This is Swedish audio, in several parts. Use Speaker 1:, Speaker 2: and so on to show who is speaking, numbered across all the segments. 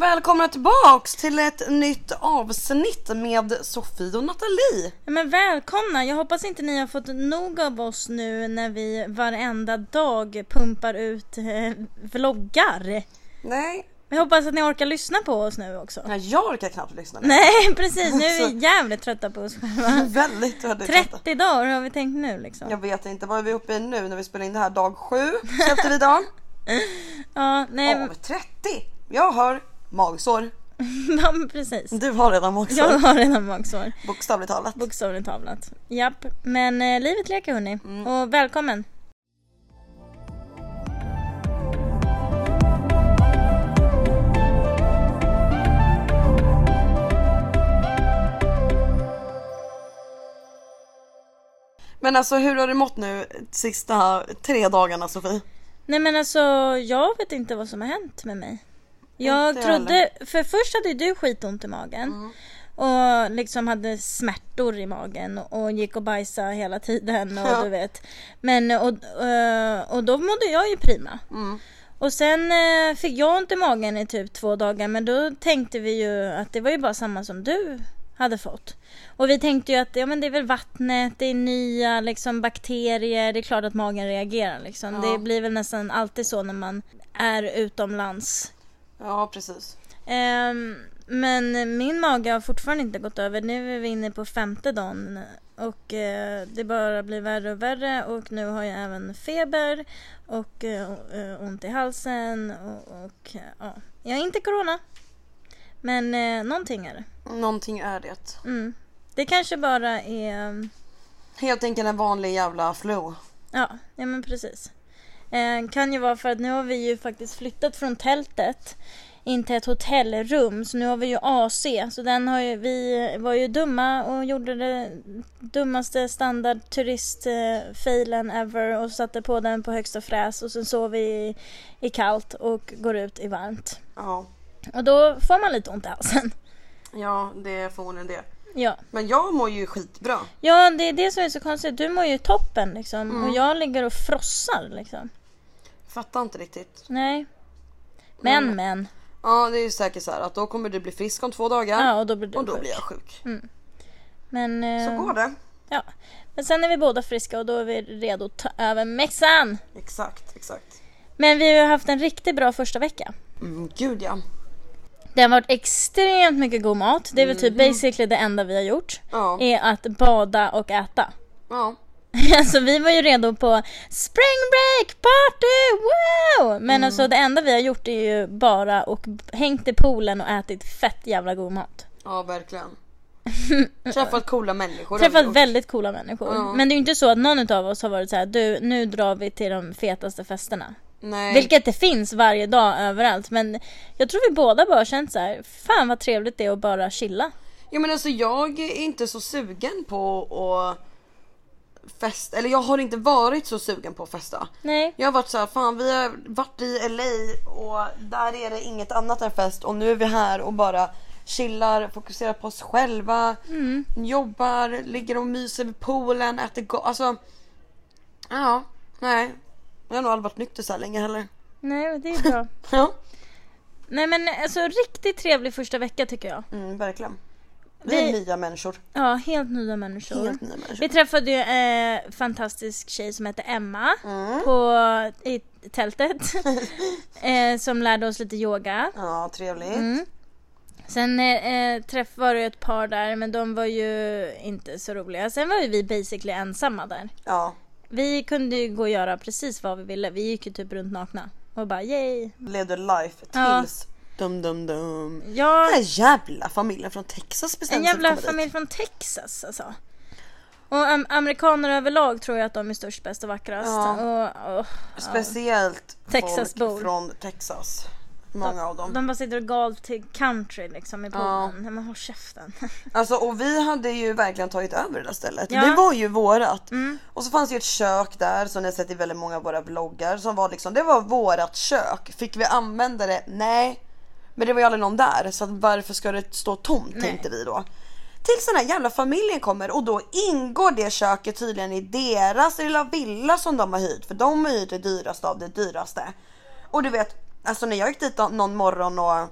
Speaker 1: Välkomna tillbaks till ett nytt avsnitt med Sofie och Nathalie.
Speaker 2: Ja, Men välkomna! Jag hoppas inte ni har fått nog av oss nu när vi varenda dag pumpar ut eh, vloggar.
Speaker 1: Nej.
Speaker 2: Jag hoppas att ni orkar lyssna på oss nu också.
Speaker 1: Nej, jag orkar knappt lyssna. nu.
Speaker 2: Nej precis, nu är vi jävligt trötta på oss själva.
Speaker 1: Väldigt, väldigt trötta.
Speaker 2: 30 dagar har vi tänkt nu liksom.
Speaker 1: Jag vet inte, vad är vi uppe i nu när vi spelar in det här? Dag sju släppte vi idag.
Speaker 2: Ja, nej
Speaker 1: Ja, men 30! Jag har magsår.
Speaker 2: ja, men precis.
Speaker 1: Du har redan magsår.
Speaker 2: Jag har redan magsår.
Speaker 1: Bokstavligt talat.
Speaker 2: Bokstavligt tavlat. Japp, men eh, livet leker hörni.
Speaker 1: Mm.
Speaker 2: Och välkommen!
Speaker 1: Men alltså hur har du mått nu sista tre dagarna Sofie?
Speaker 2: Nej men alltså jag vet inte vad som har hänt med mig. Jag
Speaker 1: Inte jag Mm.
Speaker 2: trodde, för först hade ju du skitont i magen. Och liksom hade smärtor i magen och och gick och bajsade hela tiden och
Speaker 1: Ja.
Speaker 2: du vet. Men och, eh, och då mådde jag ju prima.
Speaker 1: Mm.
Speaker 2: Och sen eh, fick jag ont i magen i typ två dagar men då tänkte vi ju att det var ju bara samma som du hade fått. Och vi tänkte ju att ja, men det är väl vattnet, det är nya liksom, bakterier, det är klart att magen reagerar liksom.
Speaker 1: Ja.
Speaker 2: Det blir väl nästan alltid så när man är utomlands.
Speaker 1: Ja precis.
Speaker 2: Ehm, men min mage har fortfarande inte gått över. Nu är vi inne på femte dagen och eh, det bara blir värre och värre och nu har jag även feber och eh, o- eh, ont i halsen och, och eh, ja. Jag är inte corona. Men eh, någonting är det.
Speaker 1: Någonting är det.
Speaker 2: Mm. Det kanske bara är ehm,
Speaker 1: Helt enkelt en vanlig jävla flu.
Speaker 2: Ja, ja men precis. Eh, kan ju vara för att nu har vi ju faktiskt flyttat från tältet in till ett hotellrum så nu har vi ju AC så den har ju, vi var ju dumma och gjorde det dummaste standardturistfejlen ever och satte på den på högsta fräs och sen sov vi i, i kallt och går ut i varmt.
Speaker 1: Ja.
Speaker 2: Och då får man lite ont i halsen.
Speaker 1: Ja det är förmodligen det.
Speaker 2: Ja.
Speaker 1: Men jag mår ju skitbra.
Speaker 2: ja, det är det som är så konstigt. Du mår ju toppen liksom och jag ligger och frossar liksom.
Speaker 1: Fattar inte riktigt.
Speaker 2: Nej. Men men.
Speaker 1: Ja det är ju säkert så här att då kommer du bli frisk om två dagar.
Speaker 2: Ja, Mm. och då blir du
Speaker 1: och då
Speaker 2: sjuk.
Speaker 1: blir jag sjuk.
Speaker 2: Men, eh,
Speaker 1: Så går det.
Speaker 2: Ja. Men sen är vi båda friska och då är vi redo att ta över mässan.
Speaker 1: Exakt, exakt.
Speaker 2: Men vi har ju haft en riktigt bra första vecka.
Speaker 1: Mm, gud ja.
Speaker 2: Det har varit extremt mycket god mat. Det är väl typ basically det enda vi har gjort.
Speaker 1: Mm. Ja.
Speaker 2: Är att bada och äta.
Speaker 1: ja.
Speaker 2: Alltså vi var ju redo på spring break party, wow!
Speaker 1: Mm.
Speaker 2: Men alltså det enda vi har gjort är ju bara och b- hängt i poolen och ätit fett jävla god mat.
Speaker 1: Ja verkligen. Träffat coola människor. har vi
Speaker 2: träffat
Speaker 1: gjort.
Speaker 2: väldigt coola människor.
Speaker 1: Ja.
Speaker 2: Men det är ju inte så att någon av oss har varit så här, du nu drar vi till de fetaste festerna.
Speaker 1: Nej.
Speaker 2: Vilket det finns varje dag överallt. Men jag tror vi båda bara har känt så här, fan vad trevligt det är att bara chilla.
Speaker 1: Ja men alltså jag är inte så sugen på att fest eller jag har inte varit så sugen på att festa.
Speaker 2: Nej.
Speaker 1: Jag har varit så här, fan vi har varit i LA och där är det inget annat än fest och nu är vi här och bara chillar, fokuserar på oss själva, jobbar, ligger och myser vid poolen, äter gott. Alltså, ja, nej. Jag har nog aldrig varit nykter så här länge heller.
Speaker 2: Nej, men det är bra.
Speaker 1: Ja,
Speaker 2: Nej men alltså riktigt trevlig första vecka tycker jag.
Speaker 1: mm, verkligen. Vi är
Speaker 2: Vi-
Speaker 1: nya människor.
Speaker 2: Ja, helt nya människor.
Speaker 1: Helt nya människor.
Speaker 2: Vi träffade ju en eh, fantastisk tjej som hette Emma
Speaker 1: Mm.
Speaker 2: på, i tältet. eh, som lärde oss lite yoga.
Speaker 1: Ja, trevligt.
Speaker 2: Sen eh, eh, träff var det ett par där men de var ju inte så roliga. Sen var ju vi basically ensamma där.
Speaker 1: Ja,
Speaker 2: Vi kunde ju gå och göra precis vad vi ville. Vi gick ju typ runt nakna och bara yay.
Speaker 1: levde life
Speaker 2: Ja.
Speaker 1: tills dum dum dum. Den
Speaker 2: Ja,
Speaker 1: här jävla familjen från Texas
Speaker 2: en
Speaker 1: bestämde sig för
Speaker 2: jävla
Speaker 1: att komma dit.
Speaker 2: familj från Texas alltså. Och am- amerikaner överlag tror jag att de är störst, bäst och vackrast.
Speaker 1: Ja.
Speaker 2: Och, och,
Speaker 1: Speciellt
Speaker 2: Texasbor.
Speaker 1: folk från Texas. Många av dem.
Speaker 2: De bara sitter och gal till country liksom i poolen. Nej men håll käften.
Speaker 1: Alltså, och vi hade ju verkligen tagit över det där stället.
Speaker 2: Ja.
Speaker 1: Det var ju vårat. Och så fanns ju ett kök där som ni har sett i väldigt många av våra vloggar som var liksom, det var vårat kök. Fick vi använda det? Nej. Men det var ju aldrig någon där så att varför ska det stå tomt tänkte vi då. Tills den här jävla familjen kommer och då ingår det köket tydligen i deras lilla villa som de har hyrt för de har hyrt det dyraste av det dyraste. Och du vet, alltså när jag gick dit någon morgon och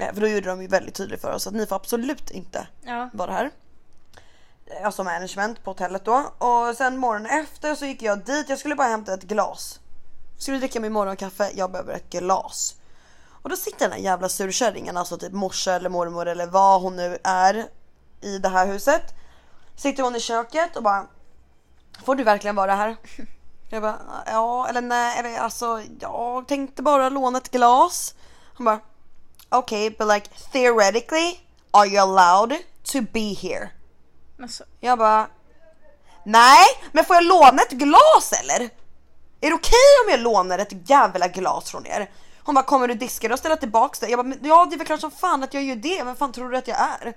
Speaker 1: Eh, För då gjorde de ju väldigt tydligt för oss att ni får absolut inte
Speaker 2: Ja.
Speaker 1: var det här. Eh, Alltså management på hotellet då. Och sen morgonen efter så gick jag dit. Jag skulle bara hämta ett glas. Skulle dricka min morgonkaffe. Jag behöver ett glas. Och då sitter den här jävla surkärringen, alltså typ morsa eller mormor eller vad hon nu är i det här huset. Sitter hon i köket och bara Får du verkligen vara här? Jag bara ja eller nej eller alltså jag tänkte bara låna ett glas. Hon bara Okej, okay, but like theoretically, are you allowed to be here?
Speaker 2: Alltså,
Speaker 1: Jag bara, nej, men får jag låna ett glas eller? Är det okej om jag lånar ett jävla glas från er? Hon bara, kommer du diska det och ställa tillbaks det? Jag bara, men ja det är väl klart som fan att jag gör det, men fan tror du att jag är?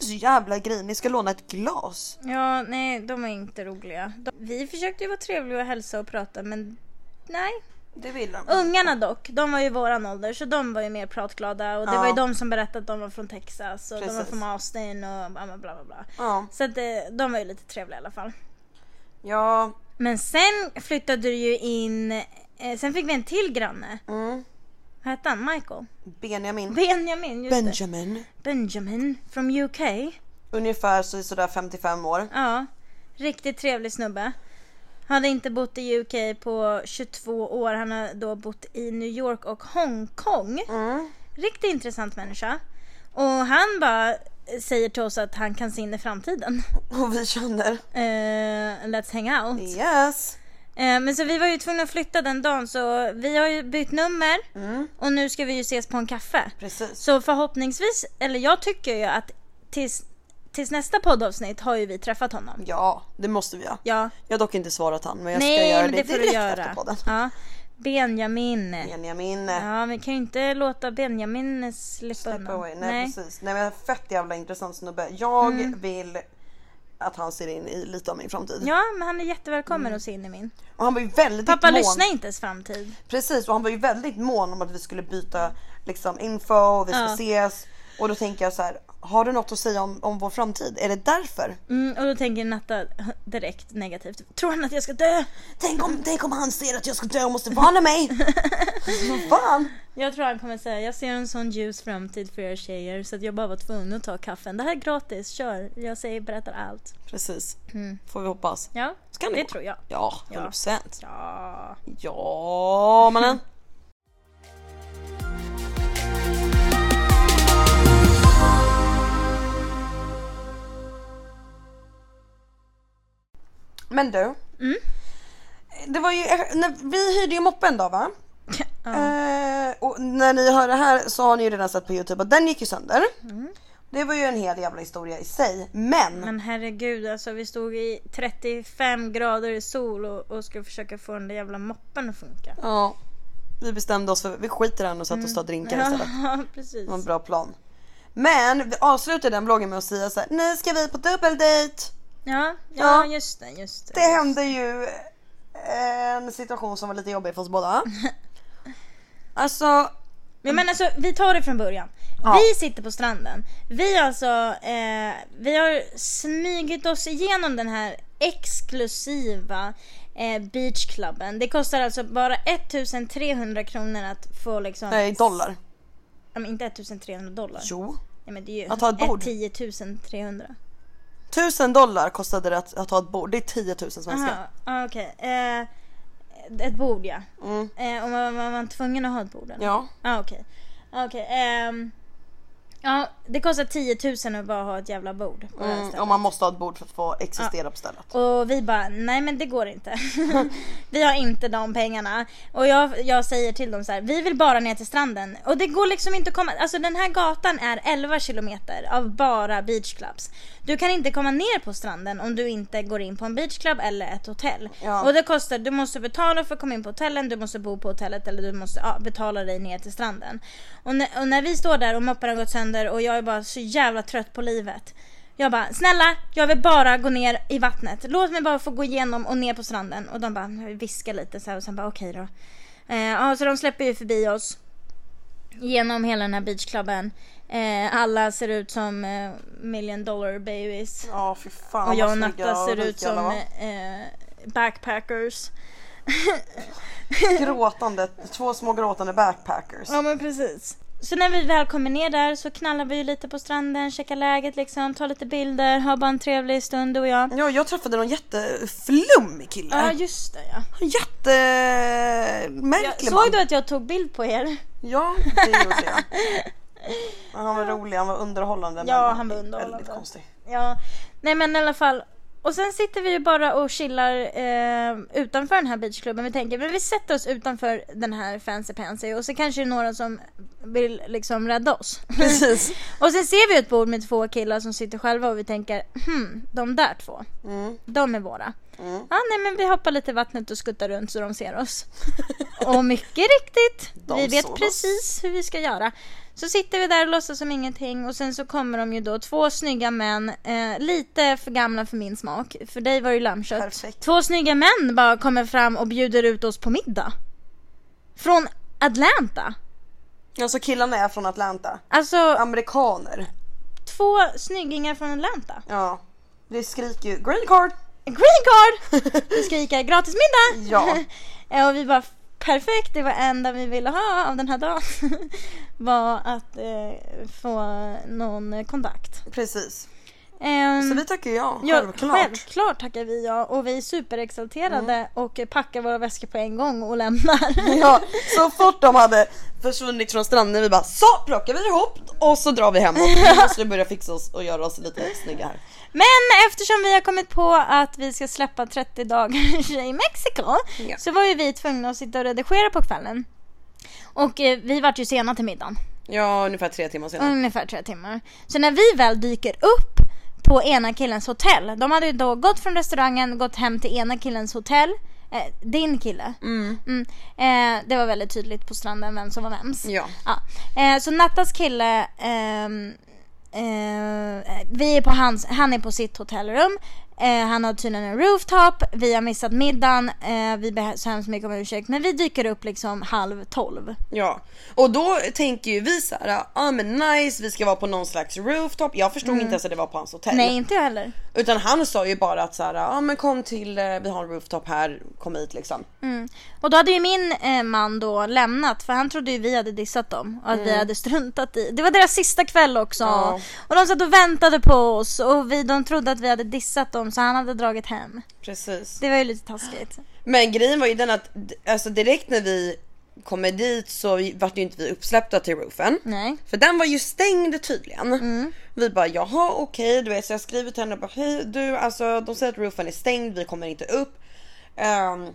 Speaker 1: Så jävla grinig, ska låna ett glas?
Speaker 2: ja, nej, de är inte roliga. De, vi försökte ju vara trevliga och hälsa och prata, men nej.
Speaker 1: Det vill de.
Speaker 2: Ungarna dock, de var ju våran ålder, så de var ju mer pratglada. Och det
Speaker 1: Ja.
Speaker 2: var ju de som berättade att de var från Texas och de var
Speaker 1: Precis.
Speaker 2: från Austin och bla bla bla. bla.
Speaker 1: Ja,
Speaker 2: Så att, eh, de var ju lite trevliga i alla fall.
Speaker 1: ja,
Speaker 2: Men sen flyttade du ju in, eh, sen fick vi en till granne.
Speaker 1: mm.
Speaker 2: Vad hette han? Michael?
Speaker 1: Benjamin.
Speaker 2: Benjamin, just det.
Speaker 1: Benjamin.
Speaker 2: Benjamin from UK.
Speaker 1: Ungefär så sådär 55 år.
Speaker 2: Ja, riktigt trevlig snubbe. Hade inte bott i UK på 22 år. Han har då bott i New York och Hongkong.
Speaker 1: Mm.
Speaker 2: Riktigt intressant människa. Och han bara säger till oss att han kan se in i framtiden.
Speaker 1: Och vi känner,
Speaker 2: Eh, let's hang out.
Speaker 1: yes.
Speaker 2: Eh, men så vi var ju tvungna att flytta den dagen så vi har ju bytt nummer
Speaker 1: Mm.
Speaker 2: och nu ska vi ju ses på en kaffe.
Speaker 1: Precis.
Speaker 2: Så förhoppningsvis, eller jag tycker ju att tills, tills nästa poddavsnitt har ju vi träffat honom.
Speaker 1: Ja, det måste vi göra.
Speaker 2: Ja.
Speaker 1: Jag har dock inte svarat han men jag ska
Speaker 2: Nej,
Speaker 1: göra
Speaker 2: men det,
Speaker 1: det,
Speaker 2: får du
Speaker 1: direkt efter
Speaker 2: göra.
Speaker 1: podden.
Speaker 2: Ja. Benjamin.
Speaker 1: Benjamin. eh,
Speaker 2: Ja, vi kan ju inte låta Benjamin slippa
Speaker 1: Step
Speaker 2: undan.
Speaker 1: away. Nej, precis. Nej men fett jävla intressant snubbe. Jag vill att han ser in i lite av min framtid.
Speaker 2: Mm. Ja, men han är jättevälkommen
Speaker 1: Mm.
Speaker 2: att se in i min.
Speaker 1: Och han var ju väldigt
Speaker 2: Pappa
Speaker 1: mån.
Speaker 2: lyssnar inte ens framtid.
Speaker 1: Precis och han var ju väldigt mån om att vi skulle byta liksom info och vi ska
Speaker 2: Ja.
Speaker 1: ses. Och då tänker jag så här. Har du något att säga om, om vår framtid? Är det därför?
Speaker 2: Mm, och då tänker Natta direkt negativt. Tror han att jag ska dö?
Speaker 1: Tänk om, tänk om han ser att jag ska dö och måste varna mig! Vad fan!
Speaker 2: Jag tror han kommer säga, jag ser en sån ljus framtid för er tjejer så att jag bara var tvungen att ta kaffen. Det här är gratis, kör. Jag säger, berättar allt.
Speaker 1: Precis. Mm. Får vi hoppas.
Speaker 2: Mm. Ja,
Speaker 1: Ska ni
Speaker 2: det
Speaker 1: gå?
Speaker 2: tror jag.
Speaker 1: Ja, 100%.
Speaker 2: Ja.
Speaker 1: Ja, mannen. Men du. Det var ju, när vi hyrde ju moppen då va? Eh, och när ni hör det här så har ni ju redan sett på Youtube att den gick ju sönder. Det var ju en hel jävla historia i sig. Men
Speaker 2: Men herregud alltså, vi stod i 35 grader i sol och, och skulle försöka få den där jävla moppen att funka.
Speaker 1: ja, vi bestämde oss för vi skiter i den och satt oss och drinkar istället.
Speaker 2: Ja, precis.
Speaker 1: Det var en bra plan. Men vi avslutade den vloggen med att säga så här, nu ska vi på dubbeldejt.
Speaker 2: Ja, ja,
Speaker 1: Ja.
Speaker 2: just det, just
Speaker 1: Det
Speaker 2: det.
Speaker 1: hände ju en situation som var lite jobbig för oss båda. Alltså,
Speaker 2: Men, men alltså, vi tar det från början.
Speaker 1: Ja.
Speaker 2: Vi sitter på stranden. Vi, alltså, eh, vi har smygit oss igenom den här exklusiva eh, beachklubben. Det kostar alltså bara 1300 kronor att få liksom...
Speaker 1: nej dollar.
Speaker 2: Ja, men inte 1300 dollar.
Speaker 1: Jo.
Speaker 2: Nej, men det är ju
Speaker 1: Att ha ett bord.
Speaker 2: 10 300.
Speaker 1: 1000 dollar kostade det att, att ha ett bord, det är 10 000 svenska.
Speaker 2: Jaha, ah, okej. Eh, ett bord ja.
Speaker 1: Mm.
Speaker 2: Eh, och man var man tvungen att ha ett bord? eller?
Speaker 1: Ja,
Speaker 2: Ah, okej. Ah, okej. Ehm, ja, det kostar 10 000 att bara ha ett jävla bord. på det här
Speaker 1: mm,
Speaker 2: stället.
Speaker 1: och man måste ha ett bord för att få existera på stället.
Speaker 2: Och vi bara, nej men det går inte. vi har inte de pengarna. Och jag, jag säger till dem så här, vi vill bara ner till stranden. Och det går liksom inte att komma, alltså den här gatan är 11 kilometer av bara beachclubs. Du kan inte komma ner på stranden om du inte går in på en beachclub eller ett hotell.
Speaker 1: Ja.
Speaker 2: Och det kostar, du måste betala för att komma in på hotellen, du måste bo på hotellet eller du måste ja, betala dig ner till stranden. Och när, och när vi står där och moppen har gått sönder och jag är bara så jävla trött på livet. Jag bara, snälla jag vill bara gå ner i vattnet. Låt mig bara få gå igenom och ner på stranden. Och de bara viskar lite så här och sen bara okej då. Eh, ja, så de släpper ju förbi oss. Genom hela den här beachklubben. Eh, alla ser ut som eh, million dollar babies.
Speaker 1: Ja, fy fan
Speaker 2: Och jag
Speaker 1: vad
Speaker 2: och
Speaker 1: snygga
Speaker 2: Natta ser
Speaker 1: rika
Speaker 2: ut
Speaker 1: alla
Speaker 2: som
Speaker 1: var.
Speaker 2: eh, backpackers.
Speaker 1: Gråtande, två små gråtande backpackers.
Speaker 2: Ja men precis. Så när vi väl kommer ner där så knallar vi ju lite på stranden, checkar läget liksom, tar lite bilder, har bara en trevlig stund du och jag.
Speaker 1: Ja, jag träffade någon jätteflummig kille.
Speaker 2: Ja, just det ja. Jag,
Speaker 1: Jättemärklig
Speaker 2: såg
Speaker 1: man.
Speaker 2: du att jag tog bild på er?
Speaker 1: Ja, det gjorde jag. Men han var rolig, han var underhållande.
Speaker 2: Ja,
Speaker 1: men
Speaker 2: han var underhållande.
Speaker 1: Väldigt konstig.
Speaker 2: Ja, nej men i alla fall. Och sen sitter vi ju bara och chillar eh, utanför den här beachklubben. Vi tänker, men vi sätter oss utanför den här fancy pansy och så kanske det är några som vill liksom rädda oss.
Speaker 1: Precis.
Speaker 2: och sen ser vi ett bord med två killar som sitter själva och vi tänker, hmm, de där två,
Speaker 1: Mm,
Speaker 2: de är våra.
Speaker 1: mm.
Speaker 2: Ja, nej men vi hoppar lite i vattnet och skuttar runt så de ser oss. och mycket riktigt,
Speaker 1: De
Speaker 2: vi
Speaker 1: såg
Speaker 2: vet
Speaker 1: oss.
Speaker 2: precis hur vi ska göra. Så sitter vi där och låtsas som ingenting och sen så kommer de ju då, två snygga män, eh, lite för gamla för min smak. För dig var det ju lammkött.
Speaker 1: Perfekt.
Speaker 2: Två snygga män bara kommer fram och bjuder ut oss på middag. Från Atlanta.
Speaker 1: Alltså killarna är från Atlanta.
Speaker 2: Alltså,
Speaker 1: Amerikaner.
Speaker 2: två snyggingar från Atlanta.
Speaker 1: Ja. Det skriker ju green card.
Speaker 2: Green card! Vi skriker gratis middag!
Speaker 1: Ja.
Speaker 2: Ja, och vi bara perfekt, det var enda vi ville ha av den här dagen. var att eh, få någon kontakt.
Speaker 1: Precis.
Speaker 2: Ehm,
Speaker 1: Så vi tackar ja,
Speaker 2: ja,
Speaker 1: självklart. Mm.
Speaker 2: självklart tackar vi ja och vi är superexalterade och packar våra väskor på en gång och lämnar.
Speaker 1: Ja, så fort de hade försvunnit från stranden vi bara så plockar vi ihop och så drar vi hemåt. Vi måste börja fixa oss och göra oss lite snygga här.
Speaker 2: Men eftersom vi har kommit på att vi ska släppa 30 dagar i Mexiko
Speaker 1: Ja.
Speaker 2: så var ju vi tvungna att sitta och redigera på kvällen. Och eh, vi vart ju sena till middagen.
Speaker 1: Ja, ungefär tre timmar senare.
Speaker 2: Ungefär tre timmar. Så när vi väl dyker upp på ena killens hotell. De hade ju då gått från restaurangen, gått hem till ena killens hotell. Eh, din kille. Mm. Eh, det var väldigt tydligt på stranden vem som var vems.
Speaker 1: Ja.
Speaker 2: Ja. Eh, så Nattas kille, ehm, eh, vi är på hans, han är på sitt hotellrum. Eh, han har tydligen en rooftop, vi har missat middagen, eh, vi ber så hemskt mycket om ursäkt. Men vi dyker upp liksom halv tolv.
Speaker 1: Ja, och då tänker ju vi så här, ja ah, men nice, vi ska vara på någon slags rooftop. Jag förstod inte ens att det var på hans hotell.
Speaker 2: Mm. Nej, inte jag heller.
Speaker 1: Utan han sa ju bara att så här, ja ah, men kom till, eh, vi har en rooftop här, kom hit liksom.
Speaker 2: Mm. Och då hade ju min eh, man då lämnat för han trodde ju vi hade dissat dem och att vi hade struntat i. Det var deras sista kväll också.
Speaker 1: Mm. Ja.
Speaker 2: Och de satt och väntade på oss och vi, de trodde att vi hade dissat dem så han hade dragit hem.
Speaker 1: Precis.
Speaker 2: Det var ju lite taskigt.
Speaker 1: Men grejen var ju den att d- alltså direkt när vi kommer dit så vart ju inte vi uppsläppta till roofen.
Speaker 2: Nej.
Speaker 1: För den var ju stängd tydligen. Vi bara jaha okej du vet så jag skriver till henne och bara hej du alltså de säger att roofen är stängd vi kommer inte upp. Ehm,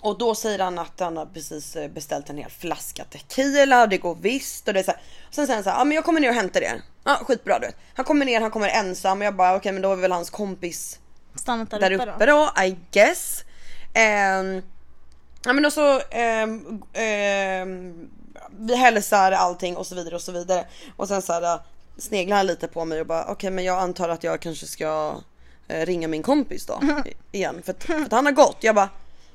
Speaker 1: och då säger han att han har precis eh, beställt en hel flaska tequila och det går visst och det är så här. Sen säger han så här, ja men jag kommer ner och hämtar det. Ja skitbra du vet. Han kommer ner, han kommer ensam och jag bara okej men då är väl hans kompis
Speaker 2: Stannat där,
Speaker 1: där
Speaker 2: uppe,
Speaker 1: uppe
Speaker 2: då.
Speaker 1: då, I guess. Ehm, ja men och så ehm, ehm, vi hälsar allting och så vidare och så vidare och sen så här äh, sneglar han lite på mig och bara okej men jag antar att jag kanske ska eh, ringa min kompis då i- igen för att, för att han har gått. Jag bara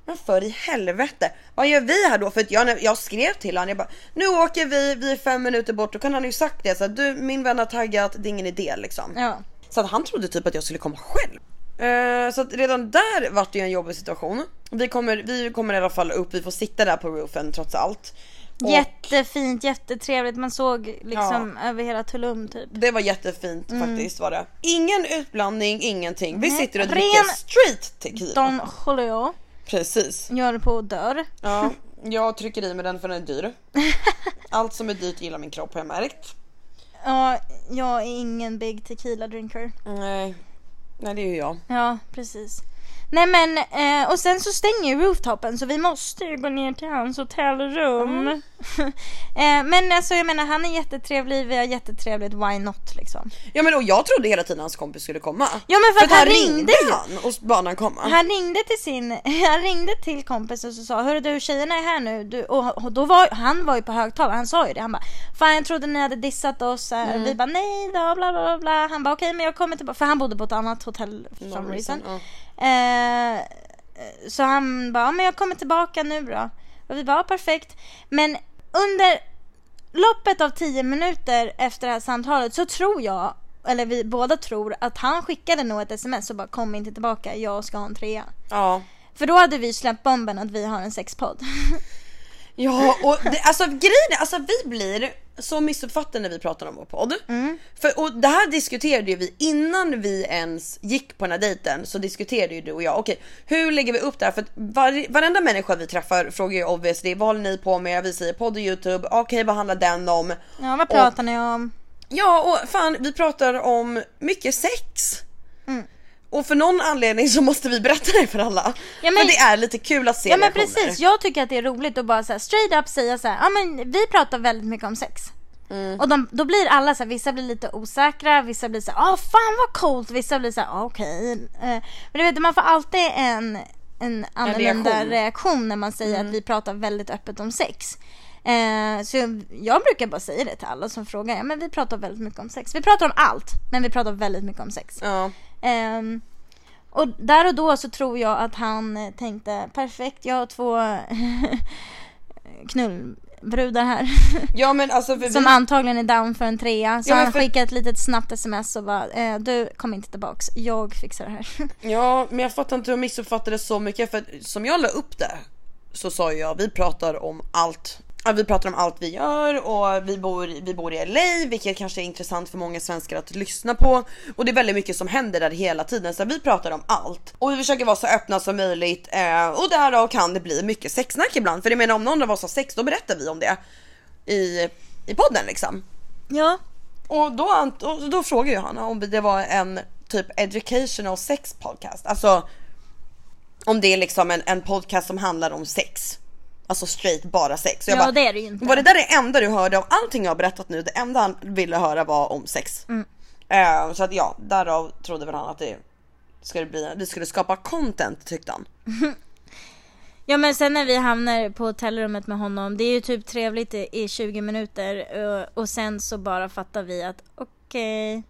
Speaker 1: men för i helvete, vad gör vi här då? För att jag, jag skrev till honom, jag bara nu åker vi, vi är fem minuter bort, då kan han ju sagt det så här, du min vän har taggat, det är ingen idé liksom.
Speaker 2: Ja.
Speaker 1: Så att han trodde typ att jag skulle komma själv. Eh, Så att redan där vart det ju en jobbig situation. Vi kommer, vi kommer i alla fall upp, vi får sitta där på roofen trots allt. Och
Speaker 2: Jättefint, jättetrevligt. Man såg liksom över hela Tulum typ.
Speaker 1: det var jättefint
Speaker 2: Mm.
Speaker 1: faktiskt var det. Ingen utblandning, ingenting. Vi sitter och
Speaker 2: Ren-
Speaker 1: dricker straight tequila.
Speaker 2: Don Julio
Speaker 1: Precis.
Speaker 2: gör på och dör.
Speaker 1: Ja, jag trycker i mig den för den är dyr. Allt som är dyrt gillar min kropp har jag märkt.
Speaker 2: Ja, jag är ingen big tequila drinker.
Speaker 1: Nej, nej det är ju jag.
Speaker 2: Ja, precis. Nej men, eh, och sen så stänger ju rooftopen så vi måste ju gå ner till hans hotellrum. eh, men alltså jag menar han är jättetrevlig, vi har jättetrevligt, why not liksom.
Speaker 1: Ja men och jag trodde hela tiden hans kompis skulle komma.
Speaker 2: Ja men för, att
Speaker 1: att
Speaker 2: han ringde ju.
Speaker 1: han och bad han komma.
Speaker 2: Han ringde till sin, han ringde till kompisen och så sa Hörru du tjejerna är här nu du, och, och då var, han var ju på högtalare, han sa ju det han bara Fan jag trodde ni hade dissat oss, så här. vi bara nej då bla bla bla, bla. Han bara okej men jag kommer tillbaka, för han bodde på ett annat hotell for some reason
Speaker 1: Ja.
Speaker 2: Eh, så han bara, "Ja, men jag kommer tillbaka nu då. Och vi bara, "Ja, perfekt. Men under loppet av 10 minuter efter det här samtalet så tror jag, eller vi båda tror, att han skickade nog ett sms och bara kom inte tillbaka, jag ska ha en trea.
Speaker 1: ja.
Speaker 2: För då hade vi släppt bomben att vi har en sexpodd.
Speaker 1: Ja, och det, alltså grejen är, alltså vi blir så missuppfattade när vi pratar om vår podd.
Speaker 2: Mm.
Speaker 1: För, och det här diskuterade ju vi innan vi ens gick på den här dejten så diskuterade ju du och jag, okej hur lägger vi upp det här? För att var, varenda människa vi träffar frågar ju obviously, vad håller ni på med? Vi säger podd och youtube, okej vad handlar den om?
Speaker 2: Ja, vad pratar ni om?
Speaker 1: Ja och fan vi pratar om mycket sex.
Speaker 2: Mm.
Speaker 1: Och för någon anledning så måste vi berätta det för alla.
Speaker 2: Ja, men-
Speaker 1: men, för det är lite kul att se
Speaker 2: Ja men
Speaker 1: reaktioner.
Speaker 2: precis, jag tycker att det är roligt att bara så här, straight up säga så här, ja men vi pratar väldigt mycket om sex.
Speaker 1: Mm.
Speaker 2: Och de, då blir alla så här, vissa blir lite osäkra, vissa blir så här, ah fan vad coolt, vissa blir så här, ah, okej. Eh, Men du vet, man får alltid en, en annorlunda reaktion.
Speaker 1: reaktion. Mm.
Speaker 2: när man säger att vi pratar väldigt öppet om sex. Eh, så jag, jag brukar bara säga det till alla som frågar, ja men vi pratar väldigt mycket om sex. Vi pratar om allt, men vi pratar väldigt mycket om sex.
Speaker 1: Ja.
Speaker 2: Ehm, och där och då så tror jag att han eh, tänkte perfekt, jag har två knullbrudar här
Speaker 1: ja men alltså för
Speaker 2: som
Speaker 1: vi...
Speaker 2: antagligen är down för en trea. Så
Speaker 1: Ja, men
Speaker 2: han
Speaker 1: för-
Speaker 2: skickade ett litet snabbt sms och bara eh, du kom inte tillbaks, jag fixar det här.
Speaker 1: Ja, men jag fattar inte hur jag missuppfattade det så mycket för att som jag la upp det så sa ju jag vi pratar om allt. Ja, Vi pratar om allt vi gör och vi bor, vi bor i LA vilket kanske är intressant för många svenskar att lyssna på. Och det är väldigt mycket som händer där hela tiden så vi pratar om allt. Och vi försöker vara så öppna som möjligt eh, och därav kan det bli mycket sexsnack ibland. För jag menar om någon av oss har sex då berättar vi om det i, i podden liksom.
Speaker 2: ja,
Speaker 1: Och då, ant- och då frågade ju han om det var en typ educational sex podcast. Alltså om det är liksom en, en podcast som handlar om sex. Alltså straight bara sex. Så
Speaker 2: ja det är det ju inte.
Speaker 1: Var det där det enda du hörde om allting jag har berättat nu? Det enda han ville höra var om sex.
Speaker 2: Mm.
Speaker 1: Eh, så att ja, därav trodde väl han att det skulle bli, vi skulle skapa content tyckte han.
Speaker 2: Ja men sen när vi hamnar på hotellrummet med honom, det är ju typ trevligt i, i 20 minuter eh, och, och sen så bara fattar vi att okej,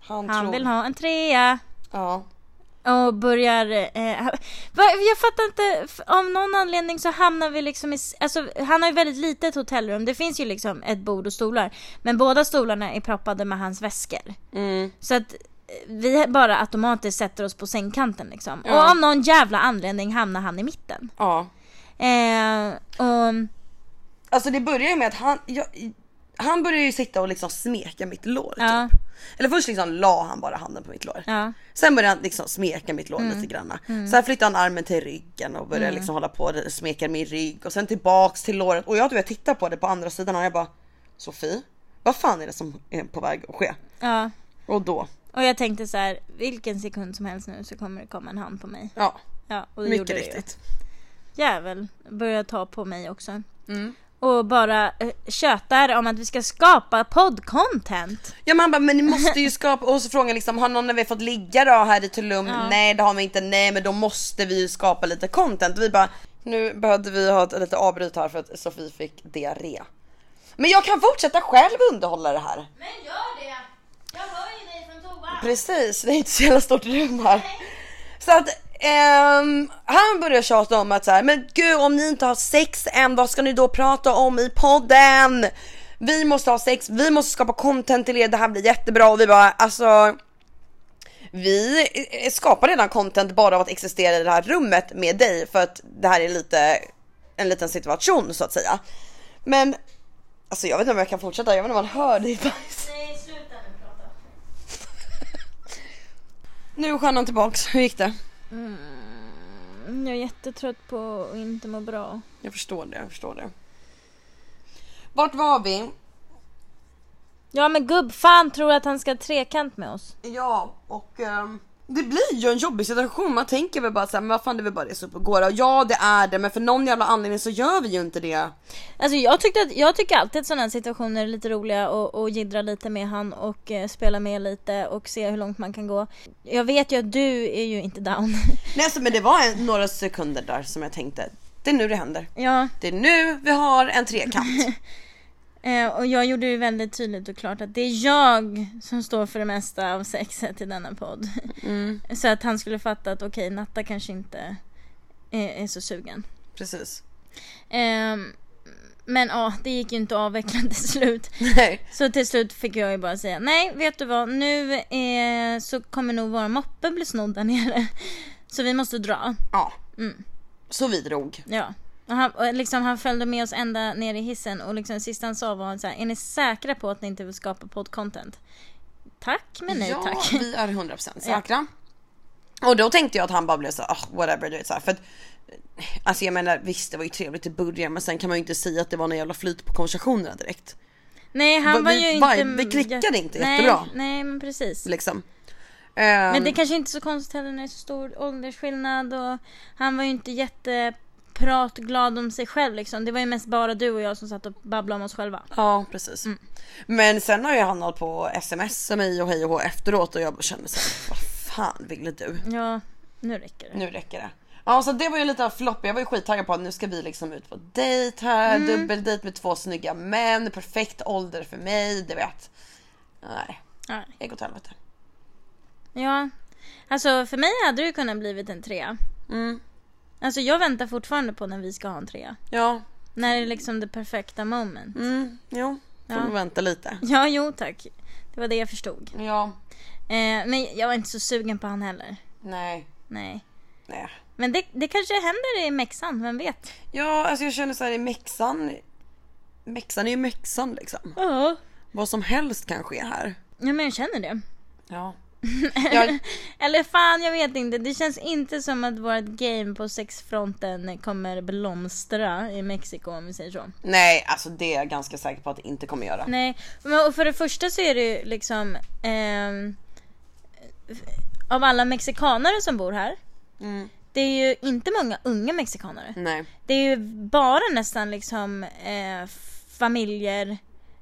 Speaker 1: Han,
Speaker 2: han
Speaker 1: tror,
Speaker 2: vill ha en trea.
Speaker 1: Ja.
Speaker 2: Och börjar... Eh, va, jag fattar inte, f- av någon anledning så hamnar vi liksom i... s- Alltså, han har ju väldigt litet hotellrum. Det finns ju liksom ett bord och stolar. Men båda stolarna är proppade med hans väskor.
Speaker 1: Mm.
Speaker 2: Så att eh, vi bara automatiskt sätter oss på sängkanten liksom. Och av någon jävla anledning hamnar han i mitten.
Speaker 1: Ja.
Speaker 2: Eh, och,
Speaker 1: Alltså det börjar ju med att han, jag, han börjar ju sitta och liksom smeka mitt lår typ.
Speaker 2: ja,
Speaker 1: Eller först liksom la han bara handen på mitt lår.
Speaker 2: ja. Mm.
Speaker 1: Sen började han liksom smeka mitt lår lite granna. Sen flyttade han armen till ryggen och började liksom hålla på och smeka min rygg och sen tillbaks till låret och jag, du vet, jag tittar på det på andra sidan och jag bara Sofie, vad fan är det som är på väg att ske?
Speaker 2: ja.
Speaker 1: Och då,
Speaker 2: Och jag tänkte så här, vilken sekund som helst nu så kommer det komma en hand på mig.
Speaker 1: ja,
Speaker 2: Ja, och det gjorde
Speaker 1: mycket
Speaker 2: det ju.
Speaker 1: riktigt.
Speaker 2: jävel börjar ta på mig också. Mm. Och bara eh, tjötar om att vi ska skapa poddcontent.
Speaker 1: Ja men han bara, men ni måste ju skapa, och så frågar han liksom har någon av er fått ligga då här i Tulum?
Speaker 2: Ja.
Speaker 1: Nej det har vi inte, nej men då måste vi ju skapa lite content. Och vi bara, nu behövde vi ha ett litet avbryt här för att Sofie fick diarré. Men jag kan fortsätta själv underhålla det här.
Speaker 3: Men gör det! Jag hör ju dig från toan.
Speaker 1: Precis, det är inte så jävla stort rum här. Så att ehm, han börjar tjata om att så här, men gud om ni inte har sex än, vad ska ni då prata om i podden? Vi måste ha sex, vi måste skapa content till er, det här blir jättebra och vi bara alltså vi eh, skapar redan content bara av att existera i det här rummet med dig för att det här är lite en liten situation så att säga. Men alltså jag vet inte om jag kan fortsätta, jag vet inte om man hör det i bajs.
Speaker 3: Nej, sluta nu prata.
Speaker 1: Nu är stjärnan tillbaks, hur gick det?
Speaker 2: Mm, Jag är jättetrött på att inte må bra.
Speaker 1: Jag förstår det, jag förstår det. Vart var vi?
Speaker 2: Ja men gubbfan tror att han ska ha trekant med oss.
Speaker 1: Ja, och ehm, det blir ju en jobbig situation. Man tänker väl bara såhär, men vad fan det är väl bara det som går. Och Ja, det är det, men för någon jävla anledning så gör vi ju inte det.
Speaker 2: Alltså jag, tyckte att, jag tycker alltid att sådana här situationer är lite roliga och, och jiddra lite med han och eh, spela med lite och se hur långt man kan gå. Jag vet ju att du är ju inte down.
Speaker 1: Nej, alltså, men det var en, några sekunder där som jag tänkte, det är nu det händer.
Speaker 2: ja.
Speaker 1: Det är nu vi har en trekant.
Speaker 2: Eh, och jag gjorde ju väldigt tydligt och klart att det är jag som står för det mesta av sexet i denna podd. Så att han skulle fatta att okej, Natta kanske inte är, är så sugen.
Speaker 1: Precis.
Speaker 2: Ehm, men ja, det gick ju inte att avveckla till slut.
Speaker 1: Nej.
Speaker 2: Så till slut fick jag ju bara säga nej, vet du vad, nu eh, så kommer nog vår moppe
Speaker 1: Mm.
Speaker 2: bli snodd där nere. Så vi måste dra.
Speaker 1: Ja. Så vi drog.
Speaker 2: Ja. Och han, och liksom, han följde med oss ända ner i hissen och liksom, det sista han sa var så här, är ni säkra på att ni inte vill skapa poddcontent? Tack men nej
Speaker 1: ja,
Speaker 2: tack.
Speaker 1: vi är 100% säkra. Och då tänkte jag att han bara blev så här, "Ah, whatever, du vet så här, för att Alltså jag menar visst det var ju trevligt i början men sen kan man ju inte säga att det var någon jävla flyt på konversationerna direkt.
Speaker 2: Nej han
Speaker 1: Vi-
Speaker 2: var
Speaker 1: vi-
Speaker 2: ju
Speaker 1: vi- vi
Speaker 2: inte...
Speaker 1: klickade inte
Speaker 2: nej,
Speaker 1: jättebra.
Speaker 2: Nej men precis.
Speaker 1: Liksom. Ehm,
Speaker 2: Men det kanske inte är så konstigt heller när det är så stor åldersskillnad och han var ju inte jättepratglad om sig själv liksom. Det var ju mest bara du och jag som satt och babblade om oss själva.
Speaker 1: Ja precis.
Speaker 2: Mm.
Speaker 1: Men sen har ju han hållit på och smsat mig och hej och hå efteråt och jag bara känner såhär, vad fan ville du?
Speaker 2: Ja, nu räcker det.
Speaker 1: Nu räcker det. Ja så det var ju lite av flopp. Jag var ju skittaggad på att nu ska vi liksom ut på dejt här, dubbeldejt med två snygga män, perfekt ålder för mig, du vet. Nej,
Speaker 2: Nej.
Speaker 1: det gick åt helvete.
Speaker 2: Ja. Alltså för mig hade det ju kunnat blivit en trea.
Speaker 1: Mm.
Speaker 2: Alltså jag väntar fortfarande på när vi ska ha en trea.
Speaker 1: Ja,
Speaker 2: När det är liksom det perfekta moment.
Speaker 1: mm, jo. Får
Speaker 2: Ja.
Speaker 1: vi vänta lite.
Speaker 2: Ja, jo tack. Det var det jag förstod.
Speaker 1: Ja,
Speaker 2: Eh, men jag var inte så sugen på han heller.
Speaker 1: nej,
Speaker 2: Nej.
Speaker 1: nej.
Speaker 2: Men det, det kanske händer i Mexan, vem vet?
Speaker 1: Ja alltså jag känner såhär i Mexan, Mexan är ju Mexan liksom.
Speaker 2: Ja.
Speaker 1: Vad som helst kan ske här.
Speaker 2: Ja men jag känner det.
Speaker 1: Ja. Jag,
Speaker 2: Eller fan, jag vet inte. Det känns inte som att vårt game på sexfronten kommer blomstra i Mexiko om vi säger så.
Speaker 1: nej, alltså det är jag ganska säker på att det inte kommer göra.
Speaker 2: Nej, men och för det första så är det ju liksom ehm, av alla mexikanare som bor här.
Speaker 1: Mm.
Speaker 2: Det är ju inte många unga mexikanare.
Speaker 1: Nej.
Speaker 2: Det är ju bara nästan liksom eh, familjer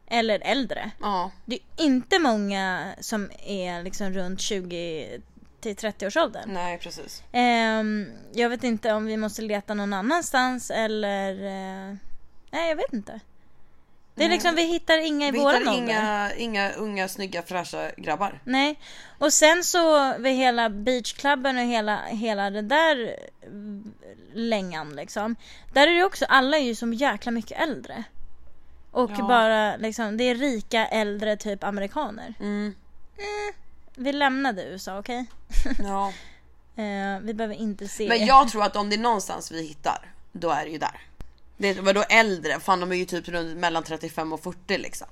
Speaker 2: eller äldre.
Speaker 1: Ja.
Speaker 2: Det är inte många som är liksom runt 20 till 30 års åldern.
Speaker 1: Nej precis.
Speaker 2: Ehm, jag vet inte om vi måste leta någon annanstans eller... eh, nej, jag vet inte. Det är liksom, vi hittar inga i
Speaker 1: Vi
Speaker 2: våran
Speaker 1: hittar
Speaker 2: ålder.
Speaker 1: inga, inga unga snygga fräscha grabbar.
Speaker 2: Nej. Och sen så vid hela beachklubben och hela, hela det där eh, längan liksom. Där är det också, alla är ju som jäkla mycket äldre. Och
Speaker 1: Ja.
Speaker 2: bara liksom, det är rika äldre typ amerikaner.
Speaker 1: Mm.
Speaker 2: Vi lämnade USA, okej?
Speaker 1: Ja.
Speaker 2: Eh, vi behöver inte se.
Speaker 1: Men jag tror att om det är någonstans vi hittar, då är det ju där. Det, vadå äldre? Fan de är ju typ runt mellan 35 och 40 liksom.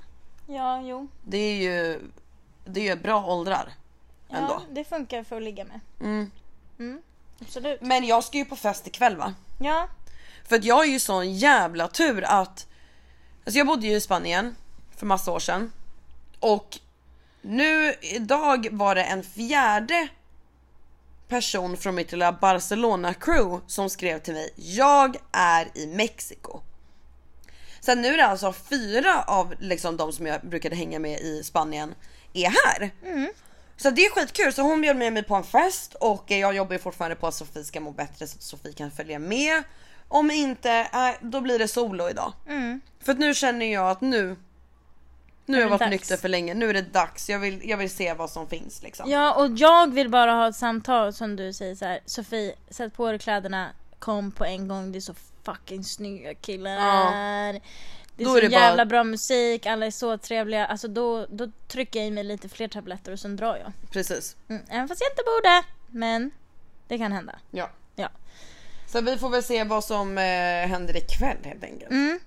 Speaker 2: Ja, jo.
Speaker 1: Det är ju, det är ju bra åldrar. Ändå.
Speaker 2: Ja, det funkar för att ligga med.
Speaker 1: Mm.
Speaker 2: Mm, absolut.
Speaker 1: Men jag ska ju på fest ikväll va?
Speaker 2: Ja.
Speaker 1: För att jag har ju sån jävla tur att Alltså jag bodde ju i Spanien för massa år sedan och nu idag var det en fjärde person från mitt lilla Barcelona crew som skrev till mig. Jag är i Mexiko. Sen nu är det alltså fyra av liksom de som jag brukade hänga med i Spanien är här.
Speaker 2: Mm.
Speaker 1: Så det är skitkul. Så hon bjöd med mig på en fest och eh, jag jobbar ju fortfarande på att Sofie ska må bättre så att Sofie kan följa med. Om inte, nej, då blir det solo idag.
Speaker 2: Mm.
Speaker 1: För att nu känner jag att nu, nu har jag
Speaker 2: det
Speaker 1: varit
Speaker 2: dags.
Speaker 1: nykter för länge. Nu är det dags. Jag vill, jag vill se vad som finns liksom.
Speaker 2: ja, och jag vill bara ha ett samtal som du säger så här. Sofie, sätt på dig kläderna, kom på en gång, det är så fucking snygga killar
Speaker 1: Ja.
Speaker 2: här. Det är
Speaker 1: Då
Speaker 2: så
Speaker 1: är det bara-
Speaker 2: jävla bra musik, alla är så trevliga. Alltså då, då trycker jag i mig lite fler tabletter och sen drar jag.
Speaker 1: Precis.
Speaker 2: Mm. Även fast jag inte borde, men det kan hända.
Speaker 1: Ja.
Speaker 2: Ja.
Speaker 1: Så vi får väl se vad som eh, händer ikväll helt enkelt.
Speaker 2: Mm.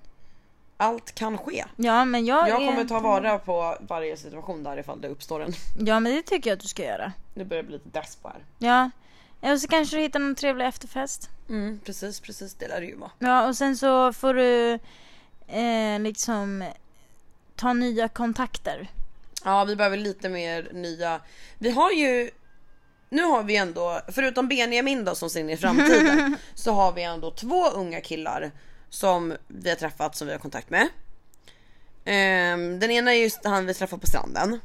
Speaker 1: Allt kan ske.
Speaker 2: Ja, men jag,
Speaker 1: Jag
Speaker 2: är...
Speaker 1: kommer ta vara på varje situation där ifall det uppstår en.
Speaker 2: Ja, men det tycker jag att du ska göra.
Speaker 1: Nu börjar det bli lite dags på här.
Speaker 2: Ja. Och så kanske du hittar någon trevlig efterfest.
Speaker 1: Mm, precis, precis. Det lär det ju vara.
Speaker 2: Ja, och sen så får du eh, liksom ta nya kontakter.
Speaker 1: Ja, vi behöver lite mer nya. Vi har ju, nu har vi ändå, förutom Benjamin då som ser in i framtiden, så har vi ändå två unga killar som vi har träffat som vi har kontakt med. Ehm, den ena är just han vi träffade på stranden.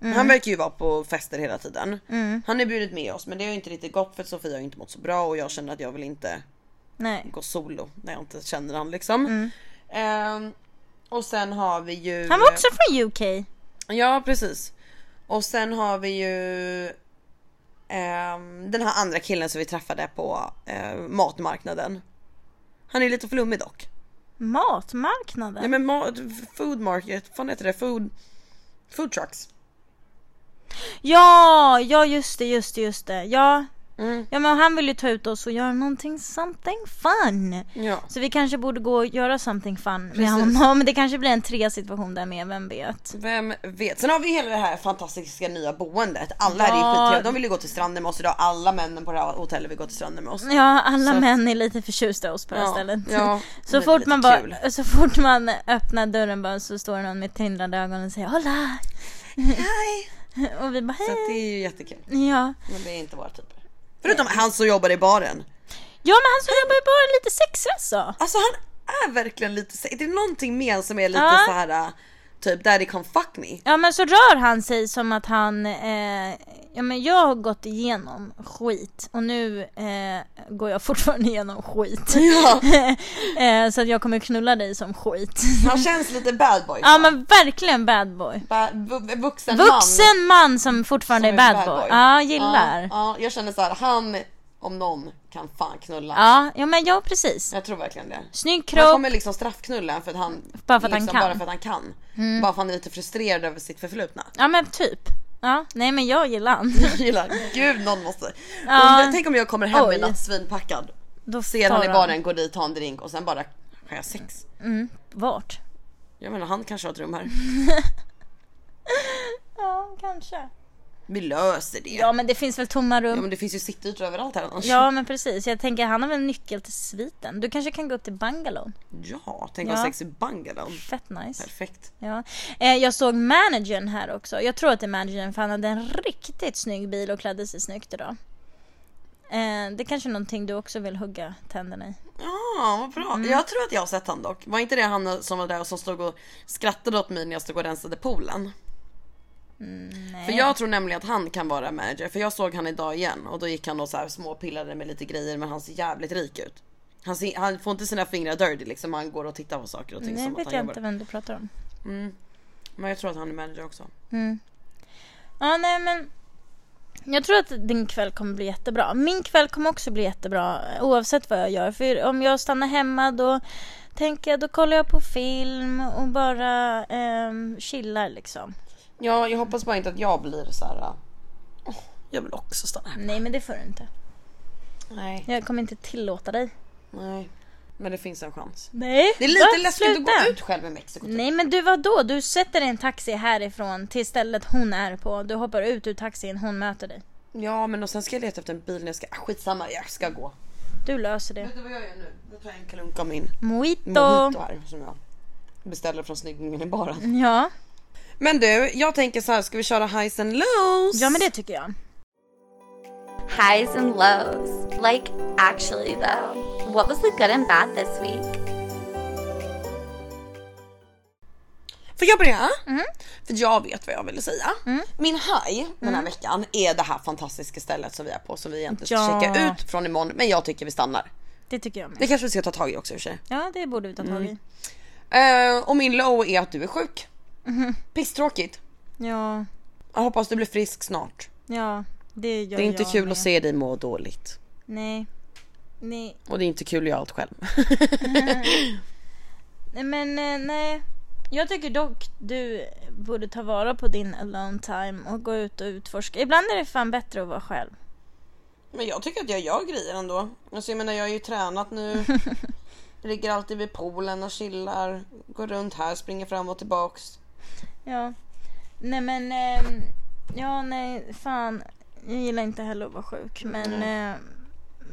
Speaker 2: Mm.
Speaker 1: Han verkar ju vara på fester hela tiden. Han har bjudit med oss men det har ju inte riktigt gått för att Sofia har ju inte mått så bra och jag känner att jag vill inte
Speaker 2: Nej.
Speaker 1: gå solo när jag inte känner han liksom. Ehm, och sen har vi ju...
Speaker 2: Mm. Han var också från UK.
Speaker 1: Ja precis. Och sen har vi ju ehm, den här andra killen som vi träffade på eh, matmarknaden. Han är lite flummig dock.
Speaker 2: Matmarknaden?
Speaker 1: Nej men mat, food market, vad fan heter det? Food, food trucks.
Speaker 2: Ja, ja just det, just det, just det. Ja,
Speaker 1: Mm.
Speaker 2: Ja men han vill ju ta ut oss och göra någonting something fun.
Speaker 1: Ja.
Speaker 2: Så vi kanske borde gå och göra something fun med
Speaker 1: Precis.
Speaker 2: honom. Men det kanske blir en trea situation där med, vem vet.
Speaker 1: Vem vet? Sen har vi hela det här fantastiska nya boendet. Alla här är ju
Speaker 2: Ja.
Speaker 1: skittrevliga. De vill ju gå till stranden med oss idag. Alla männen på det här hotellet vill gå till stranden med oss.
Speaker 2: Ja,
Speaker 1: Så
Speaker 2: alla
Speaker 1: att-
Speaker 2: män är lite förtjusta i oss på det här
Speaker 1: Ja,
Speaker 2: stället.
Speaker 1: ja, det
Speaker 2: så,
Speaker 1: är
Speaker 2: fort
Speaker 1: lite
Speaker 2: man bara,
Speaker 1: kul.
Speaker 2: så fort man öppnar dörren bara så står det någon med tindrande ögon och säger Hola!
Speaker 1: Hej!
Speaker 2: Och vi bara
Speaker 1: Så att det
Speaker 2: hej!
Speaker 1: är ju jättekul.
Speaker 2: Ja.
Speaker 1: Men det är inte våra typer. Förutom han som jobbar i baren.
Speaker 2: ja, men han som jobbar ju bara lite sexrassa.
Speaker 1: Alltså han är verkligen lite, se- det är någonting med han som är lite
Speaker 2: Ja.
Speaker 1: så här äh, typ daddy come fuck me.
Speaker 2: Ja men så rör han sig som att han, eh, ja men jag har gått igenom skit och nu eh, går jag fortfarande igenom skit.
Speaker 1: Ja.
Speaker 2: eh, så att jag kommer knulla dig som skit.
Speaker 1: Han känns lite bad boy.
Speaker 2: ja men verkligen bad boy.
Speaker 1: Ba- vu- vuxen, man.
Speaker 2: Vuxen man som fortfarande
Speaker 1: som
Speaker 2: är bad boy. Ja, gillar.
Speaker 1: Ja,
Speaker 2: Ja,
Speaker 1: ja, jag känner så här, han om någon kan fan knulla.
Speaker 2: ja. men ja precis.
Speaker 1: Jag tror verkligen det.
Speaker 2: Snygg
Speaker 1: Han
Speaker 2: kropp.
Speaker 1: kommer liksom straffknulla för att han,
Speaker 2: Bara för att han
Speaker 1: liksom,
Speaker 2: kan. Mm.
Speaker 1: Bara för att han kan. Bara för att han är lite frustrerad över sitt förflutna.
Speaker 2: Ja men typ. Ja, nej men jag gillar han.
Speaker 1: Jag gillar, gud någon måste.
Speaker 2: Ja.
Speaker 1: Undrar, tänk om jag kommer hem
Speaker 2: Oj.
Speaker 1: i natt svinpackad.
Speaker 2: Då
Speaker 1: Ser
Speaker 2: tar
Speaker 1: han i baren, går dit, tar en drink och sen bara har jag sex.
Speaker 2: Vart?
Speaker 1: Jag menar han kanske har ett rum här.
Speaker 2: Ja, kanske.
Speaker 1: Vi löser det. Ja.
Speaker 2: Ja men det finns väl tomma rum.
Speaker 1: men det finns ju sittytor överallt här annars.
Speaker 2: Ja men precis, jag tänker han har väl nyckel till sviten. Du kanske kan gå upp till bungalow?
Speaker 1: Ja, tänk att
Speaker 2: Ja.
Speaker 1: ha sex i bungalow.
Speaker 2: Fett nice.
Speaker 1: Perfekt.
Speaker 2: Ja. Eh, jag såg managern här också. Jag tror att det är managern för han hade en riktigt snygg bil och klädde sig snyggt idag. Eh, det kanske är någonting du också vill hugga tänderna i?
Speaker 1: Ja, vad bra.
Speaker 2: Mm.
Speaker 1: Jag tror att jag har sett han dock. Var inte det han som var där och som stod och skrattade åt mig när jag stod och rensade poolen?
Speaker 2: Nej.
Speaker 1: För jag tror nämligen att han kan vara manager. För jag såg han idag igen och då gick han och så här småpillade med lite grejer men han ser jävligt rik ut. Han, ser, han får inte sina fingrar dirty liksom. Han går och tittar på saker och ting
Speaker 2: Nej,
Speaker 1: som att
Speaker 2: vet
Speaker 1: han
Speaker 2: jag
Speaker 1: jobbar.
Speaker 2: inte vem du pratar om.
Speaker 1: Mm. Men jag tror att han är manager också.
Speaker 2: Ja, nej men. Jag tror att din kväll kommer bli jättebra. Min kväll kommer också bli jättebra eh, oavsett vad jag gör. För om jag stannar hemma då tänker jag, då kollar jag på film och bara ehm, chillar liksom.
Speaker 1: Ja, jag hoppas bara inte att jag blir så här. "Åh, jag vill också stanna hemma.
Speaker 2: Nej men det får du inte.
Speaker 1: Nej.
Speaker 2: Jag kommer inte tillåta dig.
Speaker 1: Nej. Men det finns en chans.
Speaker 2: Nej.
Speaker 1: Det är lite läskigt att gå ut själv i Mexiko. typ.
Speaker 2: Nej men du vad då? Du sätter dig i en taxi härifrån till stället hon är på. Du hoppar ut ur taxin, hon möter dig.
Speaker 1: Ja men och sen ska jag leta efter en bil när jag ska, ah, skitsamma jag ska gå.
Speaker 2: Du löser det.
Speaker 1: Vet du vad jag gör nu? Nu tar jag en klunk av min
Speaker 2: Mojito.
Speaker 1: mojito här som jag beställer från snyggingen i baren.
Speaker 2: Ja.
Speaker 1: Mm. Men du, jag tänker så här, ska vi köra highs and lows?
Speaker 2: ja men det tycker jag.
Speaker 4: Highs and lows. Like, actually, though, what was the good and bad this week?
Speaker 1: Får jag börja?
Speaker 2: Mhm.
Speaker 1: För jag vet vad jag ville säga.
Speaker 2: Mm.
Speaker 1: Min high den här veckan är det här fantastiska stället som vi är på som vi egentligen
Speaker 2: Ja.
Speaker 1: ska checka ut från imorgon men jag tycker vi stannar.
Speaker 2: Det tycker jag med.
Speaker 1: Det kanske vi ska ta tag i också i och för sig.
Speaker 2: Ja det borde vi ta tag i.
Speaker 1: Eh, och min low är att du är sjuk.
Speaker 2: Mhm.
Speaker 1: Pisstråkigt.
Speaker 2: Ja,
Speaker 1: Jag hoppas du blir frisk snart.
Speaker 2: ja. Det gör
Speaker 1: Det är inte
Speaker 2: jag
Speaker 1: kul
Speaker 2: med.
Speaker 1: att se dig må dåligt.
Speaker 2: Nej. Nej.
Speaker 1: Och det är inte kul att göra allt själv.
Speaker 2: Nej, Men eh, nej. Jag tycker dock du borde ta vara på din alone time och gå ut och utforska. Ibland är det fan bättre att vara själv.
Speaker 1: Men jag tycker att jag gör grejer ändå. Alltså jag menar jag har ju tränat nu. Ligger alltid vid poolen och chillar. Går runt här, springer fram och tillbaks.
Speaker 2: Ja. Nej men, ehm, ja nej fan. Jag gillar inte heller att vara sjuk men eh,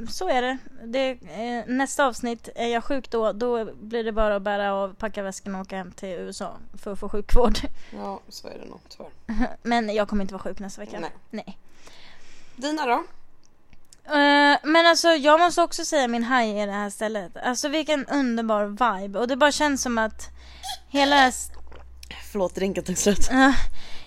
Speaker 2: så är det. det eh, nästa avsnitt, är jag sjuk då, då blir det bara att bära av, packa väskan och åka hem till USA för att få sjukvård.
Speaker 1: Ja, så är det nog tyvärr.
Speaker 2: Men jag kommer inte vara sjuk nästa vecka.
Speaker 1: Nej.
Speaker 2: nej.
Speaker 1: Dina då?
Speaker 2: Eh, men alltså jag måste också säga min haj i det här stället. Alltså vilken underbar vibe och det bara känns som att hela det här, s-
Speaker 1: Förlåt, drinken tog slut.
Speaker 2: eh,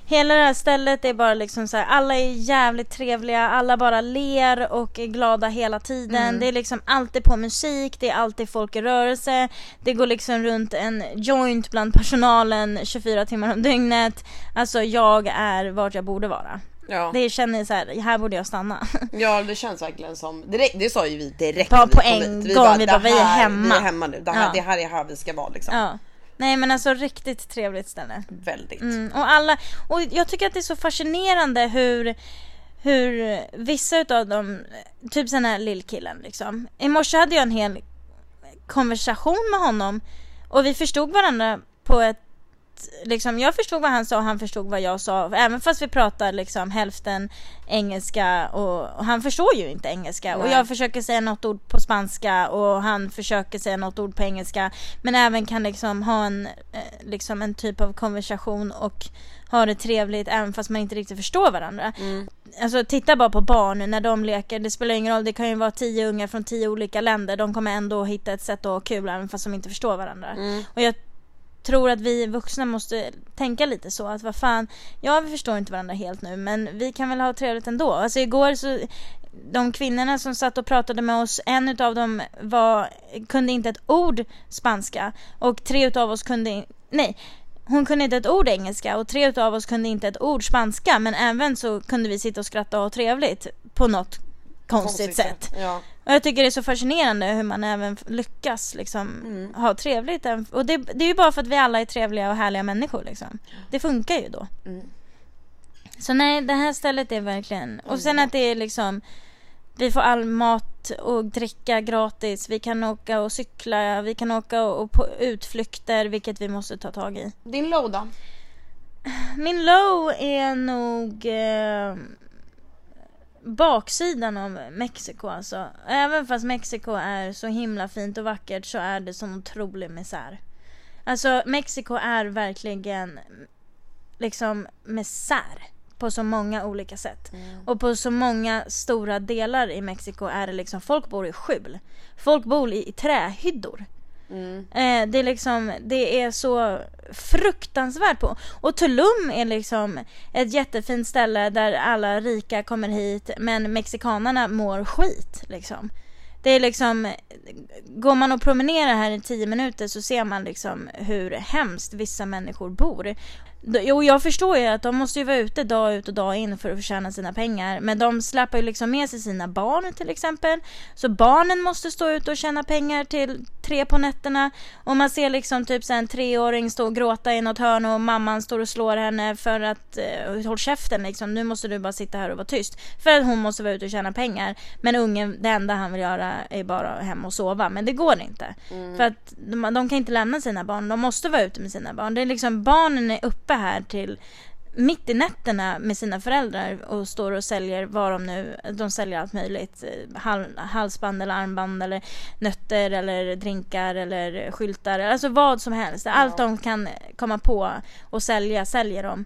Speaker 2: hela det här stället är bara liksom så här, alla är jävligt trevliga, alla bara ler och är glada hela tiden. Det är liksom alltid på musik, det är alltid folk i rörelse, det går liksom runt en joint bland personalen 24 timmar om dygnet. Alltså jag är vart jag borde vara.
Speaker 1: Ja.
Speaker 2: Det känner så här, här borde jag stanna.
Speaker 1: ja, det känns verkligen som... Direkt, det sa ju vi direkt
Speaker 2: Bara
Speaker 1: när
Speaker 2: på
Speaker 1: vi kom
Speaker 2: en
Speaker 1: hit.
Speaker 2: gång, vi
Speaker 1: "Det
Speaker 2: bara, vi är
Speaker 1: här-
Speaker 2: hemma."
Speaker 1: Vi är hemma nu. Det här,
Speaker 2: Ja.
Speaker 1: det här är här vi ska vara liksom.
Speaker 2: Ja. Nej men alltså riktigt trevligt ställe.
Speaker 1: Väldigt.
Speaker 2: Mm, och alla, och jag tycker att det är så fascinerande hur hur vissa utav dem, typ den här lillkillen liksom. I morse hade jag en hel konversation med honom och vi förstod varandra på ett Liksom, jag förstod vad han sa och han förstod vad jag sa. Även fast vi pratar liksom hälften engelska och, och han förstår ju inte engelska. Och
Speaker 1: Nej.
Speaker 2: jag försöker säga något ord på spanska och han försöker säga något ord på engelska. Men även kan liksom ha en, eh, liksom en typ av konversation och ha det trevligt även fast man inte riktigt förstår varandra. Alltså titta bara på barn när de leker. Det spelar ingen roll, det kan ju vara tio ungar från tio olika länder. De kommer ändå hitta ett sätt att ha kul även fast de inte förstår varandra. Och jag tror att vi vuxna måste tänka lite så att vad fan, ja vi förstår inte varandra helt nu men vi kan väl ha trevligt ändå. Alltså igår så de kvinnorna som satt och pratade med oss, en utav dem var, kunde inte ett ord spanska och tre utav oss kunde, in- nej hon kunde inte ett ord engelska och tre utav oss kunde inte ett ord spanska men även så kunde vi sitta och skratta och ha trevligt på något konstigt sätt.
Speaker 1: Ja.
Speaker 2: Och jag tycker det är så fascinerande hur man även lyckas liksom ha trevligt. även- Och det, det är ju bara för att vi alla är trevliga och härliga människor liksom. Det funkar ju då.
Speaker 1: Mm.
Speaker 2: Så nej, det här stället är verkligen... Och sen att det är liksom... Vi får all mat och dricka gratis. Vi kan åka och cykla. Vi kan åka och, och på utflykter, vilket vi måste ta tag i.
Speaker 1: Din låda.
Speaker 2: Min low är nog eh, baksidan av Mexiko alltså. Även fast Mexiko är så himla fint och vackert så är det sån otrolig misär. Alltså Mexiko är verkligen liksom misär på så många olika sätt. Och på så många stora delar i Mexiko är det liksom folk bor i skjul. Folk bor i, i trähyddor. Eh, det, är liksom, det är så fruktansvärt på. Och Tulum är liksom ett jättefint ställe där alla rika kommer hit men mexikanerna mår skit. Liksom. Det är liksom, går man och promenerar här i tio minuter så ser man liksom hur hemskt vissa människor bor. D- Och jag förstår ju att de måste ju vara ute dag ut och dag in för att förtjäna sina pengar. Men de släpar ju liksom med sig sina barn till exempel. Så barnen måste stå ute och tjäna pengar till tre på nätterna. Och man ser liksom typ så här en treåring stå och gråta i något hörn och mamman står och slår henne för att eh, håll käften liksom. Nu måste du bara sitta här och vara tyst. För att hon måste vara ute och tjäna pengar. Men ungen, det enda han vill göra är bara hem och sova. Men det går inte. För att de, de kan inte lämna sina barn. De måste vara ute med sina barn. Det är liksom barnen är uppe här till mitt i nätterna med sina föräldrar och står och säljer vad de nu, de säljer allt möjligt. eh, hal- Halsband eller armband eller nötter eller drinkar eller skyltar. Alltså vad som helst. Allt de kan komma på och sälja, säljer de.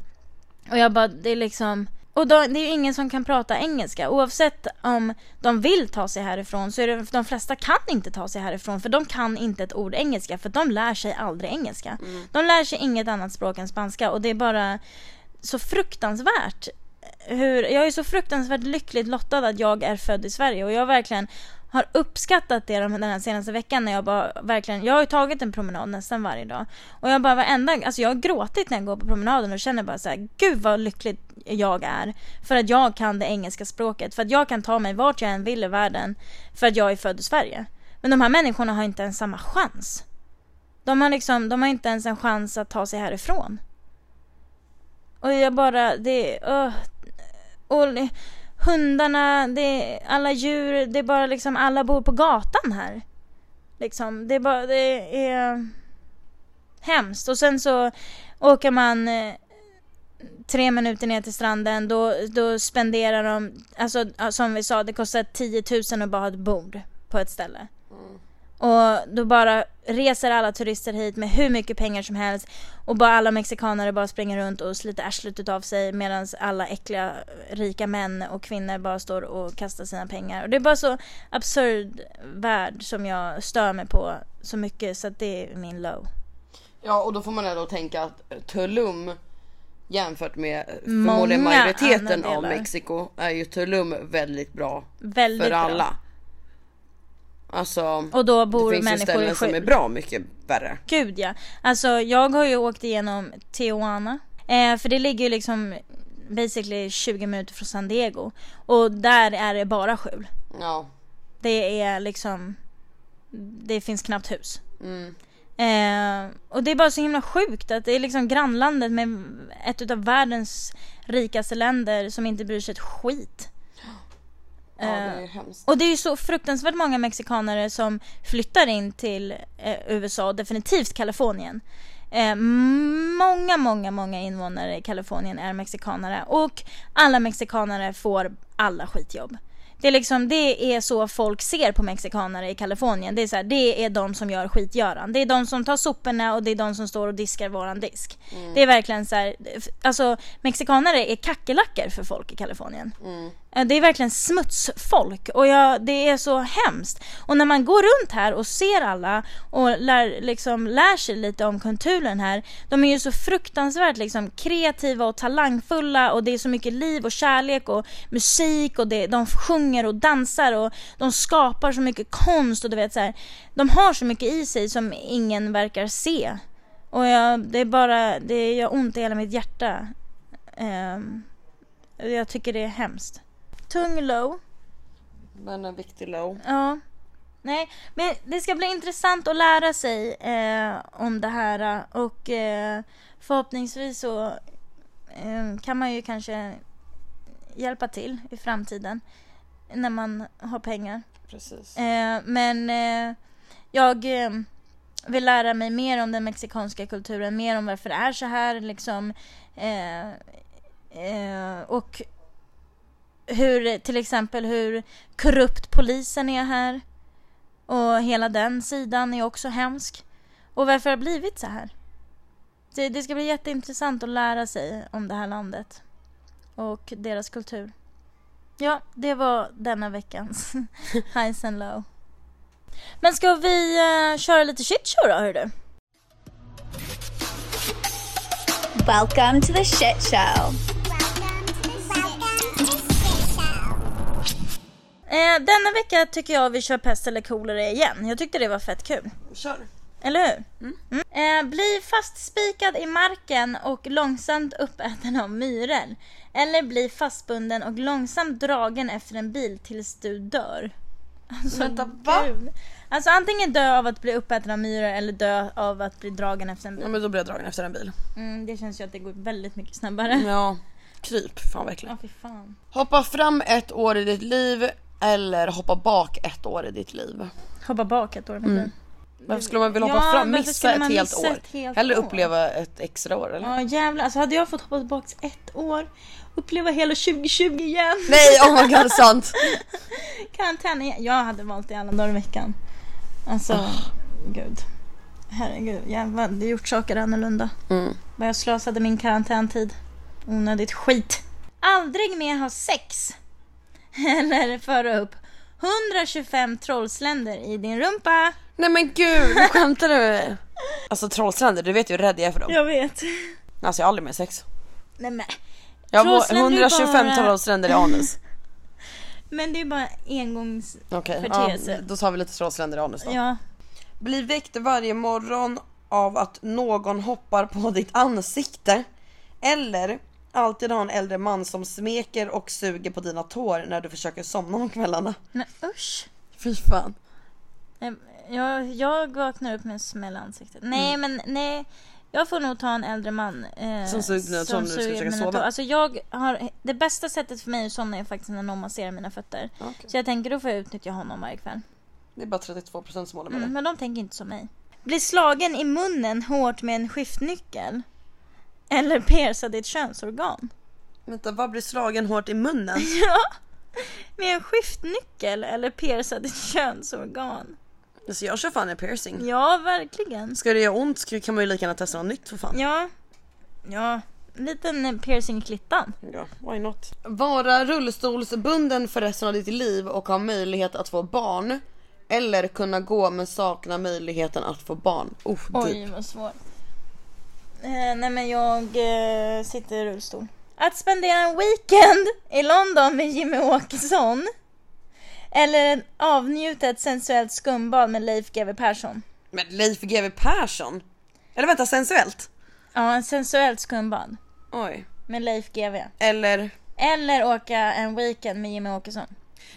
Speaker 2: Och jag bara, det är liksom... Och då, det är ju ingen som kan prata engelska. Oavsett om de vill ta sig härifrån så är det, för de flesta kan inte ta sig härifrån för de kan inte ett ord engelska för de lär sig aldrig engelska. De lär sig inget annat språk än spanska och det är bara så fruktansvärt. eh, Hur, jag är så fruktansvärt lyckligt lottad att jag är född i Sverige och jag verkligen har uppskattat det de- den här senaste veckan när jag bara verkligen, jag har ju tagit en promenad nästan varje dag och jag bara varenda, alltså jag har gråtit när jag går på promenaden och känner bara så här, gud vad lycklig jag är för att jag kan det engelska språket, för att jag kan ta mig vart jag än vill i världen för att jag är född i Sverige. Men de här människorna har inte ens samma chans. De har liksom, de har inte ens en chans att ta sig härifrån. Och jag bara, det öh, och li- hundarna, det alla djur, det är bara liksom alla bor på gatan här. Liksom, det är bara, det är hemskt. Och sen så åker man eh, tre minuter ner till stranden, då, då spenderar de, alltså ja, som vi sa, det kostar 10 000 att bara ha ett bord på ett ställe. Och då bara reser alla turister hit med hur mycket pengar som helst och bara alla mexikanare bara springer runt och sliter arslet av sig medan alla äckliga rika män och kvinnor bara står och kastar sina pengar. Och det är bara så absurd värld som jag stör mig på så mycket så att det är min low.
Speaker 1: Ja och då får man ändå tänka att eh, Tulum jämfört med eh,
Speaker 2: Många
Speaker 1: förmodligen majoriteten
Speaker 2: andra
Speaker 1: av
Speaker 2: delar.
Speaker 1: Mexiko är ju Tulum väldigt bra
Speaker 2: Väldigt
Speaker 1: för
Speaker 2: bra.
Speaker 1: alla. Alltså
Speaker 2: Och då bor
Speaker 1: det finns ju
Speaker 2: människor i
Speaker 1: ställen som är
Speaker 2: skjul.
Speaker 1: bra mycket värre.
Speaker 2: Gud ja. Alltså jag har ju åkt igenom Tijuana. Eh, för det ligger ju liksom basically 20 minuter från San Diego. Och där är det bara skjul.
Speaker 1: Ja.
Speaker 2: Det är liksom, det finns knappt hus. Eh, och det är bara så himla sjukt att det är liksom grannlandet med ett utav världens rikaste länder som inte bryr sig ett skit
Speaker 1: Ja, det är
Speaker 2: Eh,
Speaker 1: hemskt.
Speaker 2: Och det är ju så fruktansvärt många mexikanare som flyttar in till eh, USA, definitivt Kalifornien. Eh, många, många, många invånare i Kalifornien är mexikanare och alla mexikanare får alla skitjobb. Det är, liksom, det är så folk ser på mexikanare i Kalifornien. Det är, så här, det är de som gör skitgöran. Det är de som tar soporna och det är de som står och diskar våran disk. Det är verkligen så här, f- alltså mexikanare är kackerlackor för folk i Kalifornien. Eh, Det är verkligen smutsfolk och jag, det är så hemskt. Och när man går runt här och ser alla och lär, liksom, lär sig lite om kulturen här. De är ju så fruktansvärt liksom, kreativa och talangfulla och det är så mycket liv och kärlek och musik och det, de sjunger och dansar och de skapar så mycket konst och du vet så här. De har så mycket i sig som ingen verkar se. Och jag, det är bara, det gör ont i hela mitt hjärta. Ehm, jag tycker det är hemskt. Tung low.
Speaker 1: Men en viktig low.
Speaker 2: Ja. Nej, men det ska bli intressant att lära sig eh, om det här eh, och eh, förhoppningsvis så eh, kan man ju kanske hjälpa till i framtiden när man har pengar.
Speaker 1: Precis.
Speaker 2: Eh, men eh, jag eh, vill lära mig mer om den mexikanska kulturen, mer om varför det är så här liksom. Eh, eh, och hur, till exempel hur korrupt polisen är här. Och hela den sidan är också hemsk. Och varför det har blivit så här. Det, det ska bli jätteintressant att lära sig om det här landet. Och deras kultur. Ja, det var denna veckans highs and low. Men ska vi eh, köra lite shitshow då, hör du?
Speaker 4: Welcome to the shit show.
Speaker 2: Eh, denna vecka tycker jag vi kör pest eller kolera igen. Jag tyckte det var fett kul.
Speaker 1: Kör.
Speaker 2: Eller hur? Mm. Eh, bli fastspikad i marken och långsamt uppäten av myror. Eller bli fastbunden och långsamt dragen efter en bil tills du dör. Alltså,
Speaker 1: Vänta, va?
Speaker 2: gud. Alltså antingen dö av att bli uppäten av myror eller dö av att bli dragen efter en
Speaker 1: Ja
Speaker 2: bil.
Speaker 1: men då blir jag dragen efter en bil.
Speaker 2: Mm, det känns ju att det går väldigt mycket snabbare.
Speaker 1: Ja. Kryp, fan verkligen.
Speaker 2: Ja, fy fan.
Speaker 1: Hoppa fram ett år i ditt liv eller hoppa bak ett år i ditt liv.
Speaker 2: Hoppa bak ett år med
Speaker 1: Mm.
Speaker 2: bil.
Speaker 1: Varför skulle man vilja hoppa
Speaker 2: Ja,
Speaker 1: fram,
Speaker 2: varför
Speaker 1: missa
Speaker 2: skulle
Speaker 1: ett
Speaker 2: man
Speaker 1: helt
Speaker 2: missa
Speaker 1: år?
Speaker 2: ett helt
Speaker 1: Hellre
Speaker 2: år?
Speaker 1: uppleva ett extra år eller?
Speaker 2: Ja jävlar, alltså hade jag fått hoppa tillbaka ett år, uppleva hela 2020 igen,
Speaker 1: Nej oh my god sant!
Speaker 2: karantän igen. Jag hade valt det alla dagar i veckan. Alltså, gud. Herregud, jävlar, det har gjort saker annorlunda.
Speaker 1: Mm.
Speaker 2: Vad jag slösade min karantäntid. Onödigt skit. Aldrig mer ha sex. Eller föra upp 125 trollsländer i din rumpa.
Speaker 1: Nej men gud, nu skämtar du med mig? Alltså trollstränder, du vet ju hur rädd jag är för dem.
Speaker 2: Jag vet.
Speaker 1: Alltså jag har aldrig mer sex.
Speaker 2: Nej men.
Speaker 1: Jag har
Speaker 2: Trollstränder är
Speaker 1: 125
Speaker 2: bara-
Speaker 1: trollstränder i anus.
Speaker 2: Men det är bara engångs...
Speaker 1: Okej,
Speaker 2: Förteelse.
Speaker 1: ja, då tar vi lite trollsländer i anus då.
Speaker 2: Ja.
Speaker 1: Bli väckt varje morgon av att någon hoppar på ditt ansikte. Eller alltid ha en äldre man som smeker och suger på dina tår när du försöker somna om kvällarna.
Speaker 2: Men usch.
Speaker 1: Fy fan.
Speaker 2: Nej, Jag, jag vaknar upp med en smäll i ansiktet. Nej, men nej. Jag får nog ta en äldre man. Eh,
Speaker 1: Mm. Som suger dina tår när du ska
Speaker 2: suger
Speaker 1: försöka
Speaker 2: mina
Speaker 1: sova.
Speaker 2: tår. Alltså jag har, det bästa sättet för mig att somna är faktiskt när någon masserar mina fötter. Så jag tänker då får jag utnyttja honom varje kväll.
Speaker 1: Det är bara 32% som håller med
Speaker 2: Mm,
Speaker 1: dig.
Speaker 2: men de tänker inte som mig. Bli slagen i munnen hårt med en skiftnyckel. Eller pierca ditt könsorgan.
Speaker 1: Vänta, vad blir slagen hårt i munnen?
Speaker 2: Ja. Med en skiftnyckel eller pierca ditt könsorgan.
Speaker 1: Alltså jag kör fan en piercing.
Speaker 2: Ja, verkligen.
Speaker 1: Ska det göra ont ska- kan man ju lika gärna testa något nytt för fan.
Speaker 2: Ja. Ja. En liten eh, piercing i klittan.
Speaker 1: Ja, why not? Vara rullstolsbunden för resten av ditt liv och ha möjlighet att få barn. Eller kunna gå men sakna möjligheten att få barn. Oh,
Speaker 2: Oj,
Speaker 1: deep.
Speaker 2: vad svårt. Typ. Eh, nej, men jag eh, sitter i rullstol. Att spendera en weekend i London med Jimmy Åkesson. Eller en avnjutet sensuellt skumbad med Leif GW Persson.
Speaker 1: Men Leif GW Persson? Eller vänta, sensuellt?
Speaker 2: Ja, en sensuellt skumbad
Speaker 1: Oj.
Speaker 2: med Leif GW.
Speaker 1: Eller?
Speaker 2: Eller åka en weekend med Jimmy Åkesson.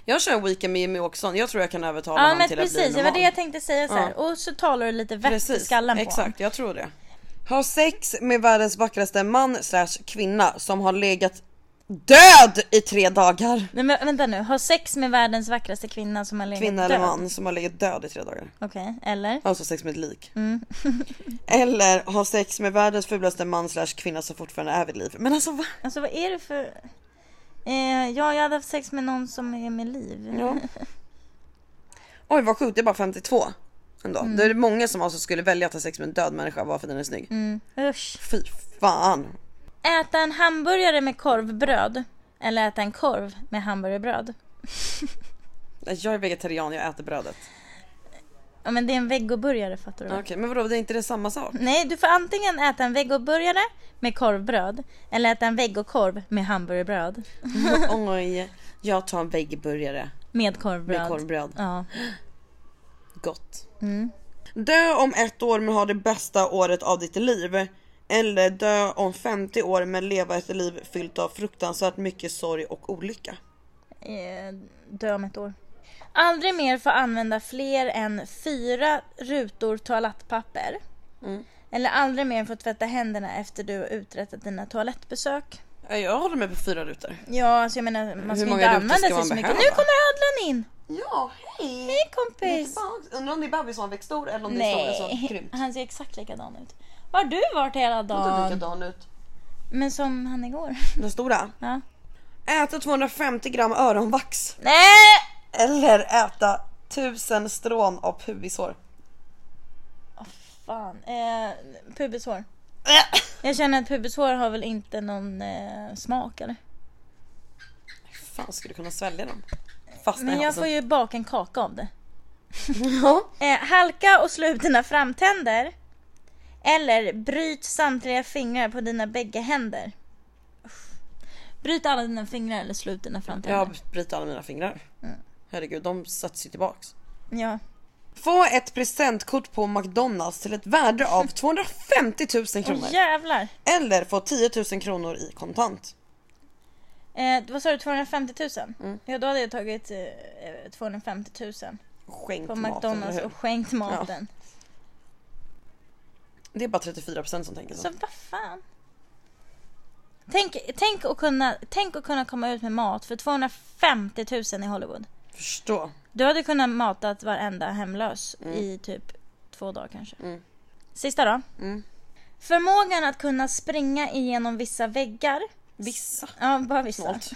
Speaker 1: Jag kör en weekend med Jimmy Åkesson, jag tror jag kan övertala
Speaker 2: Ja,
Speaker 1: honom
Speaker 2: men
Speaker 1: till att bli
Speaker 2: precis. Det var
Speaker 1: normal.
Speaker 2: det jag tänkte säga så här. Och så talar du lite vett i
Speaker 1: Precis,
Speaker 2: skallen på honom.
Speaker 1: exakt jag tror det. Ha sex med världens vackraste man slash kvinna som har legat död i tre dagar.
Speaker 2: Nej men vänta nu, ha sex med världens vackraste kvinna som har legat
Speaker 1: Kvinna
Speaker 2: död.
Speaker 1: eller man som har legat död i tre dagar.
Speaker 2: Okej, eller?
Speaker 1: Alltså sex med ett lik.
Speaker 2: Mm.
Speaker 1: eller ha sex med världens fulaste man slash kvinna som fortfarande är vid liv. Men alltså va?
Speaker 2: Alltså vad är det för... Eh, ja, jag hade haft sex med någon som är med liv.
Speaker 1: Ja. Oj vad sjukt, det är bara 52. Ändå.
Speaker 2: Mm.
Speaker 1: Det är många som alltså skulle välja att ha sex med en död människa bara för att den är snygg.
Speaker 2: Mm. Usch.
Speaker 1: Fy fan.
Speaker 2: Äta en hamburgare med korvbröd. Eller äta en korv med hamburgerbröd.
Speaker 1: Nej, Jag är vegetarian, jag äter brödet.
Speaker 2: Ja men det är en vegoburgare fattar du
Speaker 1: Okej
Speaker 2: väl?
Speaker 1: men vadå det är inte det samma sak?
Speaker 2: Nej, du får antingen äta en vegoburgare med korvbröd. Eller äta en vegokorv med hamburgerbröd.
Speaker 1: Oj, jag tar en veggburgare
Speaker 2: Med korvbröd.
Speaker 1: med korvbröd.
Speaker 2: Ja.
Speaker 1: Gott. Dö om ett år men ha det bästa året av ditt liv. Eller dö om 50 år men leva ett liv fyllt av fruktansvärt mycket sorg och olycka.
Speaker 2: eh, dö om ett år. Aldrig mer få använda fler än fyra rutor toalettpapper.
Speaker 1: Mm.
Speaker 2: Eller aldrig mer få tvätta händerna efter du har uträttat dina toalettbesök.
Speaker 1: Jag håller med på fyra rutor.
Speaker 2: Ja, alltså jag menar man
Speaker 1: Hur
Speaker 2: ska ju
Speaker 1: många
Speaker 2: inte
Speaker 1: rutor
Speaker 2: använda
Speaker 1: ska
Speaker 2: sig så
Speaker 1: man
Speaker 2: mycket.
Speaker 1: behöva?
Speaker 2: Nu kommer ödlan in!
Speaker 1: Ja, hej!
Speaker 2: Hej kompis!
Speaker 1: Undrar om det är Babys som växt stor eller om det är som som
Speaker 2: Nej,
Speaker 1: krympt.
Speaker 2: han ser exakt likadan ut. Var har du varit hela
Speaker 1: Han ser
Speaker 2: dagen?
Speaker 1: likadan ut.
Speaker 2: Men som han igår.
Speaker 1: Den stora?
Speaker 2: Ja.
Speaker 1: Äta 250 gram öronvax.
Speaker 2: Nej!
Speaker 1: Eller äta 1000 strån av pubisår.
Speaker 2: Fan. Eh, pubishår. Jag känner att pubishår har väl inte någon eh, smak eller?
Speaker 1: Fan skulle du kunna svälja dem? Fastna
Speaker 2: Alltså, Men
Speaker 1: i
Speaker 2: jag
Speaker 1: halsen.
Speaker 2: får ju baka en kaka av det.
Speaker 1: Ja.
Speaker 2: Eh, halka och slå ut dina framtänder. Eller bryt samtliga fingrar på dina bägge händer. Uff. Bryt alla dina fingrar eller slå ut dina
Speaker 1: Jag
Speaker 2: framtänder.
Speaker 1: bryter alla mina fingrar.
Speaker 2: Mm.
Speaker 1: Herregud, de sätts ju tillbaks.
Speaker 2: Ja.
Speaker 1: Få ett presentkort på McDonalds till ett värde av 250 000
Speaker 2: Åh
Speaker 1: kronor.
Speaker 2: jävlar.
Speaker 1: Eller få 10 000 kronor i kontant.
Speaker 2: Eh, vad sa du, 250 000? Ja, då hade jag tagit eh, 250 000
Speaker 1: Skänkt
Speaker 2: på
Speaker 1: mat, eller
Speaker 2: McDonalds
Speaker 1: hur?
Speaker 2: och skänkt maten.
Speaker 1: Det är bara 34% som tänker så.
Speaker 2: Så vad fan. Tänk, tänk, att kunna, tänk att kunna komma ut med mat för 250 000 i Hollywood.
Speaker 1: Förstå.
Speaker 2: Du hade kunnat matat varenda hemlös
Speaker 1: Mm.
Speaker 2: i typ två dagar kanske. Sista då.
Speaker 1: Mm.
Speaker 2: Förmågan att kunna springa igenom vissa väggar.
Speaker 1: Vissa.
Speaker 2: Ja, bara vissa.
Speaker 1: Snålt.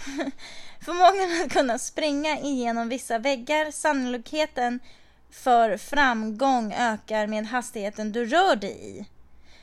Speaker 2: Förmågan att kunna springa igenom vissa väggar. Sannolikheten för framgång ökar med hastigheten du rör dig i.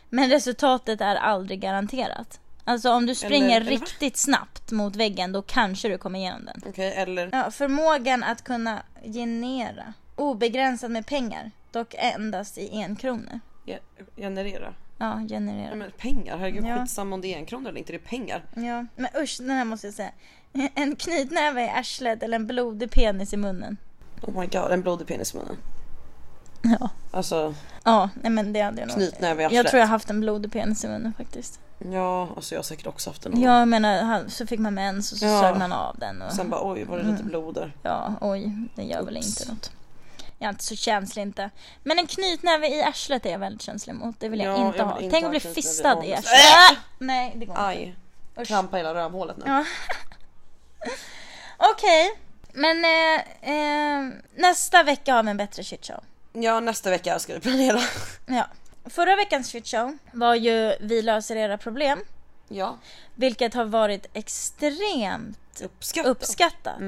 Speaker 2: Men resultatet är aldrig garanterat. Alltså om du springer
Speaker 1: eller va?
Speaker 2: riktigt snabbt mot väggen då kanske du kommer igenom den.
Speaker 1: Okej, eller
Speaker 2: Ja, förmågan att kunna generera obegränsat med pengar, dock endast i en kronor.
Speaker 1: ge- generera.
Speaker 2: Ja,
Speaker 1: Nej,
Speaker 2: generera.
Speaker 1: men pengar, herregud
Speaker 2: Ja.
Speaker 1: skitsamma om det är en krona eller inte, det är pengar.
Speaker 2: Ja, men usch, den här måste jag säga. En knytnäve i arslet eller en blodig penis i munnen.
Speaker 1: Oh my god, en blodig penis i munnen.
Speaker 2: Ja,
Speaker 1: Alltså,
Speaker 2: ja nej men det hade jag nog.
Speaker 1: knytnäve i
Speaker 2: Jag
Speaker 1: arslet.
Speaker 2: tror jag har haft en blodig penis i munnen faktiskt.
Speaker 1: Ja, alltså jag har säkert också haft en.
Speaker 2: Ja, jag menar, han- så fick man mens och så
Speaker 1: Ja.
Speaker 2: sög man av den. Och,
Speaker 1: Sen bara oj, var det
Speaker 2: Mm.
Speaker 1: lite blod där?
Speaker 2: ja, oj, den gör väl
Speaker 1: Oops.
Speaker 2: inte något. Jag är inte så känslig inte. Men en knytnäve i arslet är jag väldigt känslig mot. Det vill jag
Speaker 1: Ja,
Speaker 2: inte
Speaker 1: jag vill
Speaker 2: ha.
Speaker 1: inte
Speaker 2: Tänk
Speaker 1: ha
Speaker 2: att bli
Speaker 1: knytnäve i
Speaker 2: fistad i
Speaker 1: anus.
Speaker 2: arslet. Ah! Nej, det går inte.
Speaker 1: Aj,
Speaker 2: Usch.
Speaker 1: trampa hela rövhålet nu.
Speaker 2: Ja. Okej, men eh, eh, nästa vecka har vi en bättre shitshow.
Speaker 1: Ja, nästa vecka ska vi planera.
Speaker 2: Ja. Förra veckans shitshow var ju Vi löser era problem,
Speaker 1: Ja,
Speaker 2: vilket har varit extremt
Speaker 1: uppskatta.
Speaker 2: uppskattat.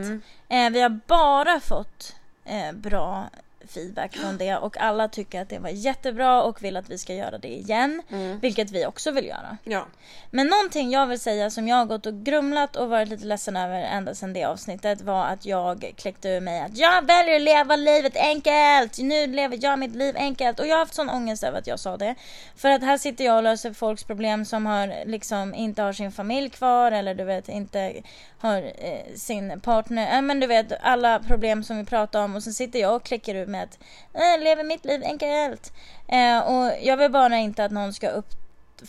Speaker 2: Eh, vi har bara fått eh, bra feedback från det och alla tycker att det var jättebra och vill att vi ska göra det igen, vilket vi också vill göra.
Speaker 1: ja,
Speaker 2: Men någonting jag vill säga som jag har gått och grumlat och varit lite ledsen över ända sedan det avsnittet var att jag kläckte ur mig att jag väljer att leva livet enkelt. Nu lever jag mitt liv enkelt. Och jag har haft sån ångest över att jag sa det. För att här sitter jag och löser folks problem som har liksom inte har sin familj kvar eller du vet inte har eh, sin partner. Äh, men du vet alla problem som vi pratar om och sen sitter jag och kläcker ur mig att äh, lever mitt liv enkelt. Eh, och jag vill bara inte att någon ska upp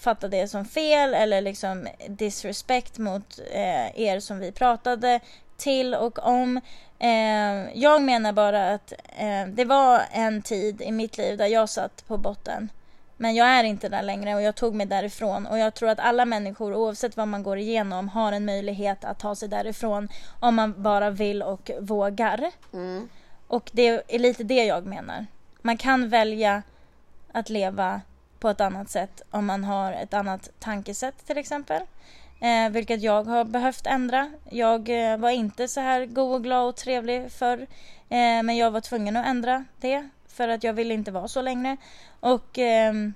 Speaker 2: fatta det som fel eller liksom disrespect mot eh, er som vi pratade till och om. Eh, jag menar bara att eh, det var en tid i mitt liv där jag satt på botten Men jag är inte där längre och jag tog mig därifrån och jag tror att alla människor oavsett vad man går igenom har en möjlighet att ta sig därifrån om man bara vill och vågar. Och det är lite det jag menar. Man kan välja att leva på ett annat sätt om man har ett annat tankesätt till exempel. Eh, vilket jag har behövt ändra. Jag eh, var inte så här god och glad och trevlig förr. Eh, men jag var tvungen att ändra det för att jag ville inte vara så längre. Och ehm,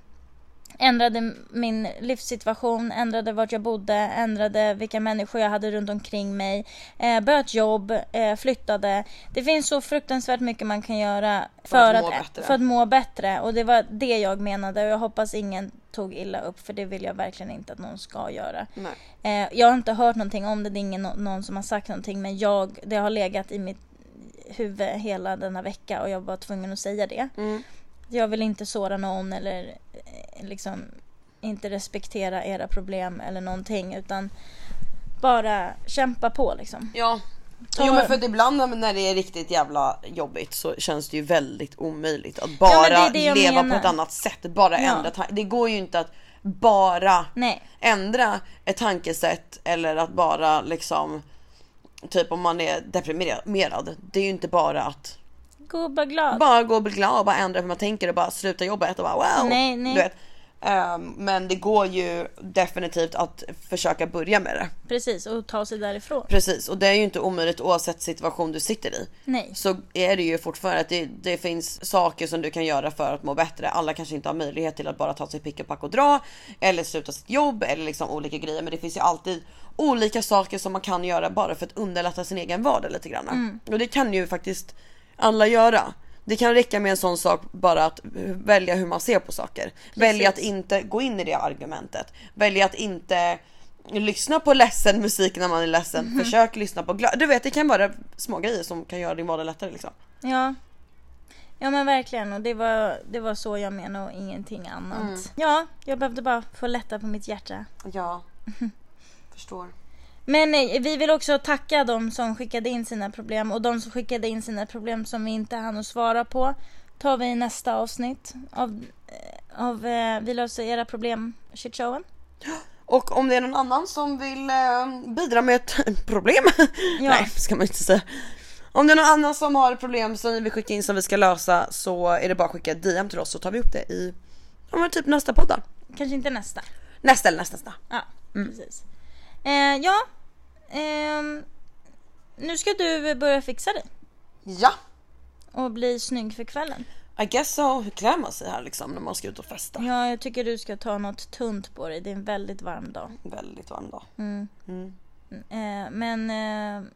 Speaker 2: ändrade min livssituation, ändrade vart jag bodde, ändrade vilka människor jag hade runt omkring mig, eh, började ett jobb, eh, flyttade. Det finns så fruktansvärt mycket man kan göra för,
Speaker 1: att
Speaker 2: att,
Speaker 1: må bättre.
Speaker 2: för att må bättre och det var det jag menade och jag hoppas ingen tog illa upp för det vill jag verkligen inte att någon ska göra.
Speaker 1: Nej.
Speaker 2: Eh, jag har inte hört någonting om det, det är ingen, någon som har sagt någonting men jag, det har legat i mitt huvud hela denna vecka och jag var tvungen att säga det.
Speaker 1: Mm.
Speaker 2: Jag vill inte såra någon eller eh, liksom inte respektera era problem eller någonting utan bara kämpa på liksom.
Speaker 1: Ja.
Speaker 2: Ta-
Speaker 1: Jo men för att ibland när det är riktigt jävla jobbigt så känns det ju väldigt omöjligt att
Speaker 2: men
Speaker 1: bara
Speaker 2: det är det jag
Speaker 1: leva
Speaker 2: menar.
Speaker 1: på ett annat sätt. Bara
Speaker 2: Ja.
Speaker 1: ändra tan- Det går ju inte att bara
Speaker 2: Nej.
Speaker 1: ändra ett tankesätt eller att bara liksom typ om man är deprimerad. Det är ju inte bara att
Speaker 2: Gå och var glad.
Speaker 1: bara gå och bli glad och bara ändra hur man tänker och bara sluta jobba och bara wow.
Speaker 2: Nej, nej.
Speaker 1: Du vet. Ehm, men det går ju definitivt att försöka börja med det.
Speaker 2: Precis och ta sig därifrån.
Speaker 1: Precis och det är ju inte omöjligt oavsett situation du sitter i.
Speaker 2: Nej.
Speaker 1: Så är det ju fortfarande att det, det finns saker som du kan göra för att må bättre. Alla kanske inte har möjlighet till att bara ta sig pick och pack och dra eller sluta sitt jobb eller liksom olika grejer. Men det finns ju alltid olika saker som man kan göra bara för att underlätta sin egen vardag lite grann. Och det kan ju faktiskt alla göra. Det kan räcka med en sån sak bara att välja hur man ser på saker. Välja att inte gå in i det argumentet. Välja att inte lyssna på ledsen musik när man är ledsen. Försök lyssna på glad. Du vet det kan vara små grejer som kan göra din vardag lättare liksom.
Speaker 2: Ja. Ja men verkligen och det var, det var så jag menade och ingenting annat. Ja, jag behövde bara få lätta på mitt hjärta.
Speaker 1: Ja. Förstår.
Speaker 2: Men eh, vi vill också tacka de som skickade in sina problem och de som skickade in sina problem som vi inte hann att svara på tar vi i nästa avsnitt av, eh, av eh, Vi löser era problem shitshowen.
Speaker 1: Och om det är någon annan som vill eh, bidra med ett problem. Nej ska man inte säga. Om det är någon annan som har ett problem som ni vill skicka in som vi ska lösa så är det bara att skicka ett DM till oss så tar vi upp det i ja, men typ nästa podd då.
Speaker 2: Kanske inte nästa.
Speaker 1: Nästa eller nästa, nästa.
Speaker 2: Ja, precis. Eh, ja, ehm, nu ska du börja fixa dig
Speaker 1: Ja.
Speaker 2: och bli snygg för kvällen.
Speaker 1: I guess so. Hur klär man sig här liksom när man ska ut och festa?
Speaker 2: Ja, jag tycker du ska ta något tunt på dig. Det är en väldigt varm dag.
Speaker 1: Väldigt varm dag.
Speaker 2: Eh, men eh,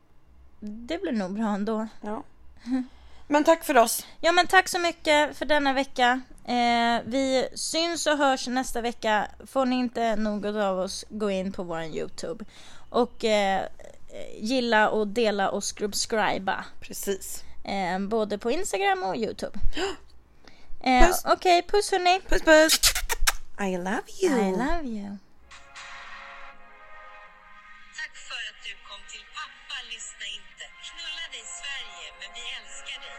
Speaker 2: det blir nog bra ändå.
Speaker 1: Ja. Men tack för oss.
Speaker 2: Ja men tack så mycket för denna vecka. Eh, vi syns och hörs nästa vecka. Får ni inte något av oss, gå in på vår Youtube. Och eh, gilla och dela och subscriba.
Speaker 1: Precis.
Speaker 2: Eh, både på Instagram och Youtube. Eh,
Speaker 1: Puss.
Speaker 2: Okej, puss hörni.
Speaker 1: Puss puss. I love you.
Speaker 2: I love you.
Speaker 5: Tack för att du kom till pappa, lyssna inte. Knulla dig Sverige, men vi älskar dig.